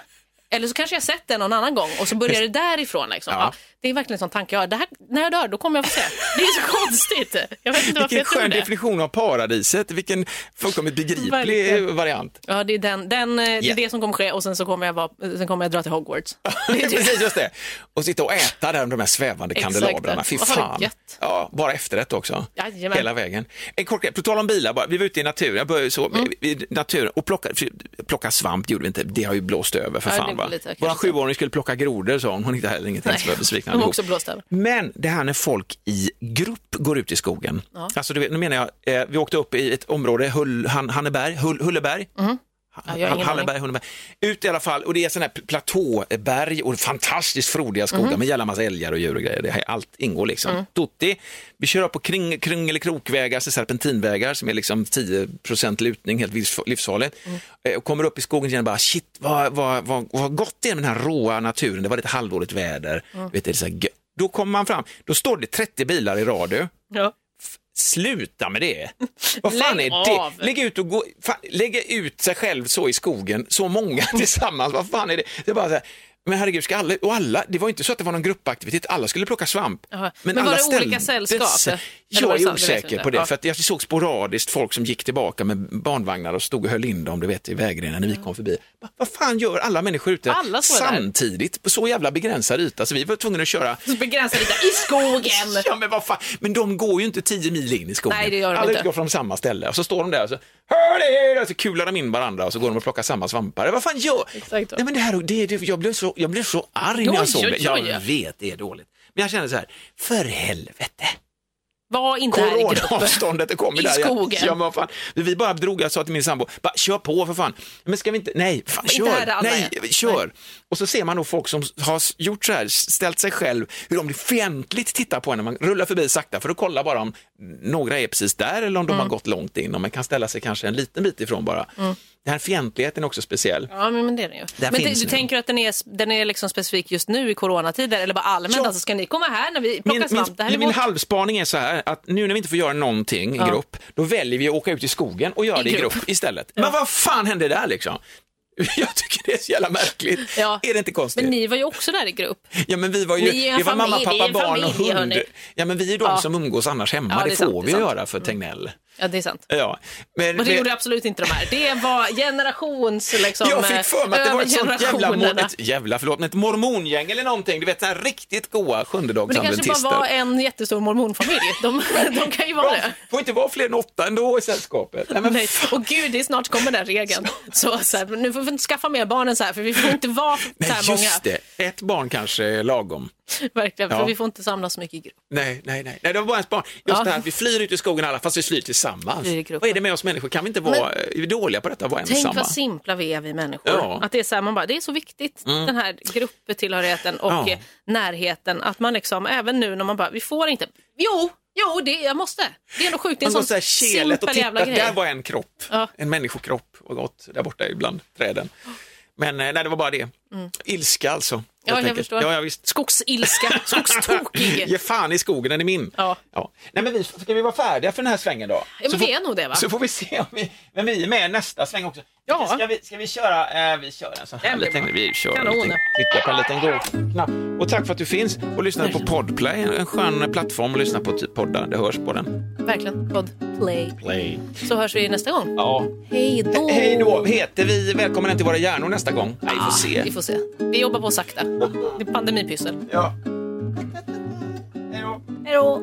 Speaker 1: Eller så kanske jag sett den någon annan gång och så börjar det därifrån. Liksom.
Speaker 2: Ja.
Speaker 1: Ja. det är verkligen en sån tanke jag har. Det här, när jag dör, då kommer jag få se. Det är så konstigt. Jag vet inte varför
Speaker 2: Vilken
Speaker 1: jag tror
Speaker 2: skön
Speaker 1: det.
Speaker 2: definition av paradiset, vilken fullkomligt begriplig
Speaker 1: Verkligen.
Speaker 2: variant.
Speaker 1: Ja, det är, den, den, eh, det, är
Speaker 2: Ja.
Speaker 1: det som kommer ske och sen, så kommer jag vara, sen kommer jag dra till Hogwarts.
Speaker 2: Det är Precis, just det. Och sitta och äta där med de här svävande
Speaker 1: Exakt.
Speaker 2: kandelabrarna. Fy
Speaker 1: Vad fan
Speaker 2: fan.
Speaker 1: gött.
Speaker 2: Ja, bara efterrätt också.
Speaker 1: Jajamän.
Speaker 2: Hela vägen. En kort grej, på tal om bilar, bara, vi var
Speaker 1: Mm.
Speaker 2: ute i naturen, jag började så, i naturen och plocka, plocka svamp gjorde vi inte, det har ju blåst över för
Speaker 1: Ja,
Speaker 2: fan.
Speaker 1: det
Speaker 2: va?
Speaker 1: lite, kanske.
Speaker 2: Våra sjuåring skulle plocka grodor sa hon, hon hittade heller ingenting så vi var besvikna
Speaker 1: de var
Speaker 2: allihop.
Speaker 1: också blåsta över.
Speaker 2: Men det här när folk i grupp går ut i skogen. Alltså, du vet, nu menar jag, eh, vi åkte upp i ett område, Hull, Han, Hanneberg, Hull, Hulleberg.
Speaker 1: Ja, jag har ingen
Speaker 2: Hallenberg, Hunneberg. Ut i alla fall, och det är sådana här pl- platåberg och fantastiskt frodiga skogar
Speaker 1: Mhm.
Speaker 2: med jävla massa älgar och djur och grejer. Det här, allt ingår liksom.
Speaker 1: Mm.
Speaker 2: Tutti. Vi kör upp på kring, kring eller krokvägar, så serpentinvägar som är liksom 10 lutning, helt livs- livsfarligt.
Speaker 1: Mm.
Speaker 2: Eh, Och kommer upp i skogen igen och bara shit, vad, vad, vad, vad gott det är med den här råa naturen. Det var lite halvdåligt väder.
Speaker 1: Mm.
Speaker 2: Vet, du, det är så här, gö- då kommer man fram, då står det 30 bilar i radio.
Speaker 1: Ja.
Speaker 2: Sluta med det! Vad fan
Speaker 1: Lägg
Speaker 2: är det?
Speaker 1: av.
Speaker 2: Lägg ut och gå, fan, lägga ut sig själv så i skogen, så många tillsammans, vad fan är det? Det är bara så här, men herregud, ska alla, och alla, det var ju inte så att det var någon gruppaktivitet, alla skulle plocka svamp.
Speaker 1: Jaha. Men var
Speaker 2: alla
Speaker 1: det olika
Speaker 2: ställde
Speaker 1: sällskap?
Speaker 2: sig.
Speaker 1: Eller var
Speaker 2: Jag
Speaker 1: det
Speaker 2: är
Speaker 1: samma? Det vet jag
Speaker 2: osäker
Speaker 1: inte.
Speaker 2: på det,
Speaker 1: Ja.
Speaker 2: för att jag såg sporadiskt folk som gick tillbaka med barnvagnar och stod och höll in dem, du vet, i vägrenen när vi kom förbi. Va- Vad fan gör alla människor ute
Speaker 1: Alla står där.
Speaker 2: samtidigt på så jävla begränsad yta? Så vi var tvungna att köra
Speaker 1: Så begränsa lite i skogen.
Speaker 2: Ja, men vad fan. Men de går ju inte tio mil in i skogen.
Speaker 1: Nej, det gör de
Speaker 2: Alla
Speaker 1: inte.
Speaker 2: utgår från samma ställe och så står de där och så, Hör det! Och så kular de in varandra och så går de och plockar samma svampar. Vad fan gör...
Speaker 1: Exakt.
Speaker 2: Nej, men det här, det, det, jag, blev så, jag blev så arg
Speaker 1: Oj,
Speaker 2: när jag såg
Speaker 1: oj,
Speaker 2: det.
Speaker 1: oj.
Speaker 2: Jag vet, det är dåligt. Men jag kände så här, för helvete.
Speaker 1: Var inte här i gruppen.
Speaker 2: Coronaavståndet kommer
Speaker 1: I
Speaker 2: där.
Speaker 1: skogen.
Speaker 2: Ja, men vad fan. Vi bara drog, jag sa till min sambo, bara, kör på för fan. Men ska vi inte, nej, fan,
Speaker 1: Inte
Speaker 2: kör.
Speaker 1: här där alla
Speaker 2: nej,
Speaker 1: är.
Speaker 2: kör. Och så ser man då folk som har s- gjort så här, ställt sig själv, hur de fientligt tittar på en när man rullar förbi sakta för att kolla bara om några är precis där eller om de
Speaker 1: Mm.
Speaker 2: har gått långt in. Om man kan ställa sig kanske en liten bit ifrån bara. Den här fientligheten är också speciell.
Speaker 1: Ja, men men det är den ju.
Speaker 2: Där
Speaker 1: men det,
Speaker 2: finns
Speaker 1: du
Speaker 2: den.
Speaker 1: tänker att den är, den är liksom specifik just nu i coronatider eller bara allmänt?
Speaker 2: Ja.
Speaker 1: Alltså, ska ni komma här när vi plockar
Speaker 2: Min, min,
Speaker 1: svamp? Det här är
Speaker 2: min
Speaker 1: vårt...
Speaker 2: halvspaning är så här att nu när vi inte får göra någonting i grupp, då väljer vi att åka ut i skogen och göra
Speaker 1: I
Speaker 2: det i
Speaker 1: grupp.
Speaker 2: grupp istället. Men vad fan hände där liksom? Jag tycker det är så jävla märkligt.
Speaker 1: Ja.
Speaker 2: Är det inte konstigt?
Speaker 1: Men ni var ju också där i grupp.
Speaker 2: ja, men vi var ju,
Speaker 1: Ni är en
Speaker 2: det var mamma,
Speaker 1: familj,
Speaker 2: pappa,
Speaker 1: det är en
Speaker 2: barn och
Speaker 1: familj,
Speaker 2: hund.
Speaker 1: hörni.
Speaker 2: Ja, men vi är de
Speaker 1: Ja.
Speaker 2: som umgås annars hemma.
Speaker 1: Ja,
Speaker 2: det,
Speaker 1: det är sant,
Speaker 2: får
Speaker 1: det
Speaker 2: vi
Speaker 1: är sant.
Speaker 2: göra för Tegnell.
Speaker 1: Ja, det är sant.
Speaker 2: Ja. Men,
Speaker 1: Och det
Speaker 2: men-
Speaker 1: gjorde absolut inte de här. Det var generations... Liksom,
Speaker 2: jag fick för mig att det var ett sånt jävla, mor,
Speaker 1: övergenerationerna.
Speaker 2: ett jävla förlåt, men ett mormongäng eller någonting. Du vet, så här riktigt goa
Speaker 1: Men det kanske
Speaker 2: sjundedagsadventister.
Speaker 1: bara var en jättestor mormonfamilj. De, de kan ju vara
Speaker 2: Ja,
Speaker 1: det.
Speaker 2: Får inte vara fler än åtta ändå i sällskapet. Nej, men
Speaker 1: Nej. Och gud, det är snart kommer den regeln. Så, så här, nu får vi inte skaffa mer barn än så här, för vi får inte vara
Speaker 2: Nej,
Speaker 1: så här många.
Speaker 2: just det. Ett barn kanske är lagom.
Speaker 1: Verkligen, för
Speaker 2: Ja.
Speaker 1: vi får inte samlas så mycket i grupp.
Speaker 2: Nej, nej, nej. nej det var bara ett barn. Just
Speaker 1: Ja.
Speaker 2: det här att vi flyr ut i skogen alla, fast vi flyr tillsammans.
Speaker 1: Flyr i gruppen.
Speaker 2: Vad är det med oss människor? Kan vi inte vara eh, dåliga på detta och vara
Speaker 1: Tänk
Speaker 2: ensamma?
Speaker 1: vad simpla vi är vi människor.
Speaker 2: Ja. Mm.
Speaker 1: Att det, är så här, man bara, det är så viktigt, den här grupptillhörigheten och
Speaker 2: Ja.
Speaker 1: eh, närheten. Att man liksom, även nu när man bara, vi får inte. Jo, jo, det, jag måste. Det är ändå sjukt. Det är en
Speaker 2: Man går
Speaker 1: sån
Speaker 2: så här kelet och
Speaker 1: simpel
Speaker 2: tittar,
Speaker 1: jävla grej.
Speaker 2: där var en kropp.
Speaker 1: Ja.
Speaker 2: En människokropp och gått där borta ibland träden. Men eh, nej, det var bara det. Ilska alltså. helt
Speaker 1: Mm. Ja, jag
Speaker 2: enkelt.
Speaker 1: förstår.
Speaker 2: Ja, ja, visst.
Speaker 1: Skogsilska, skogstokig.
Speaker 2: Ge fan i skogen, den är min.
Speaker 1: Ja.
Speaker 2: Nej, men vi, ska vi vara färdiga för den här svängen då?
Speaker 1: Ja, men vi är nog det, va?
Speaker 2: Så får vi se om vi, men vi är med nästa sväng också.
Speaker 1: Ja.
Speaker 2: Ska vi, ska vi köra, eh, vi kör en sån här
Speaker 1: Den blir
Speaker 2: liten,
Speaker 1: bra.
Speaker 2: vi kör en
Speaker 1: Kanon.
Speaker 2: liten, klicka på en liten go- knapp. Och tack för att du finns och lyssnar på Podplay, en skön plattform att lyssna på typ poddar, det hörs på den.
Speaker 1: Verkligen, podd play.
Speaker 2: Play.
Speaker 1: Så hörs vi nästa gång.
Speaker 2: Ja.
Speaker 1: Hej då!
Speaker 2: Hej då, heter vi Välkommen hem till våra hjärnor nästa gång? Nej, vi får se.
Speaker 1: Vi får se. Vi jobbar på sakta. Det är pandemipyssel.
Speaker 2: Ja. Hej då.
Speaker 1: Hej då!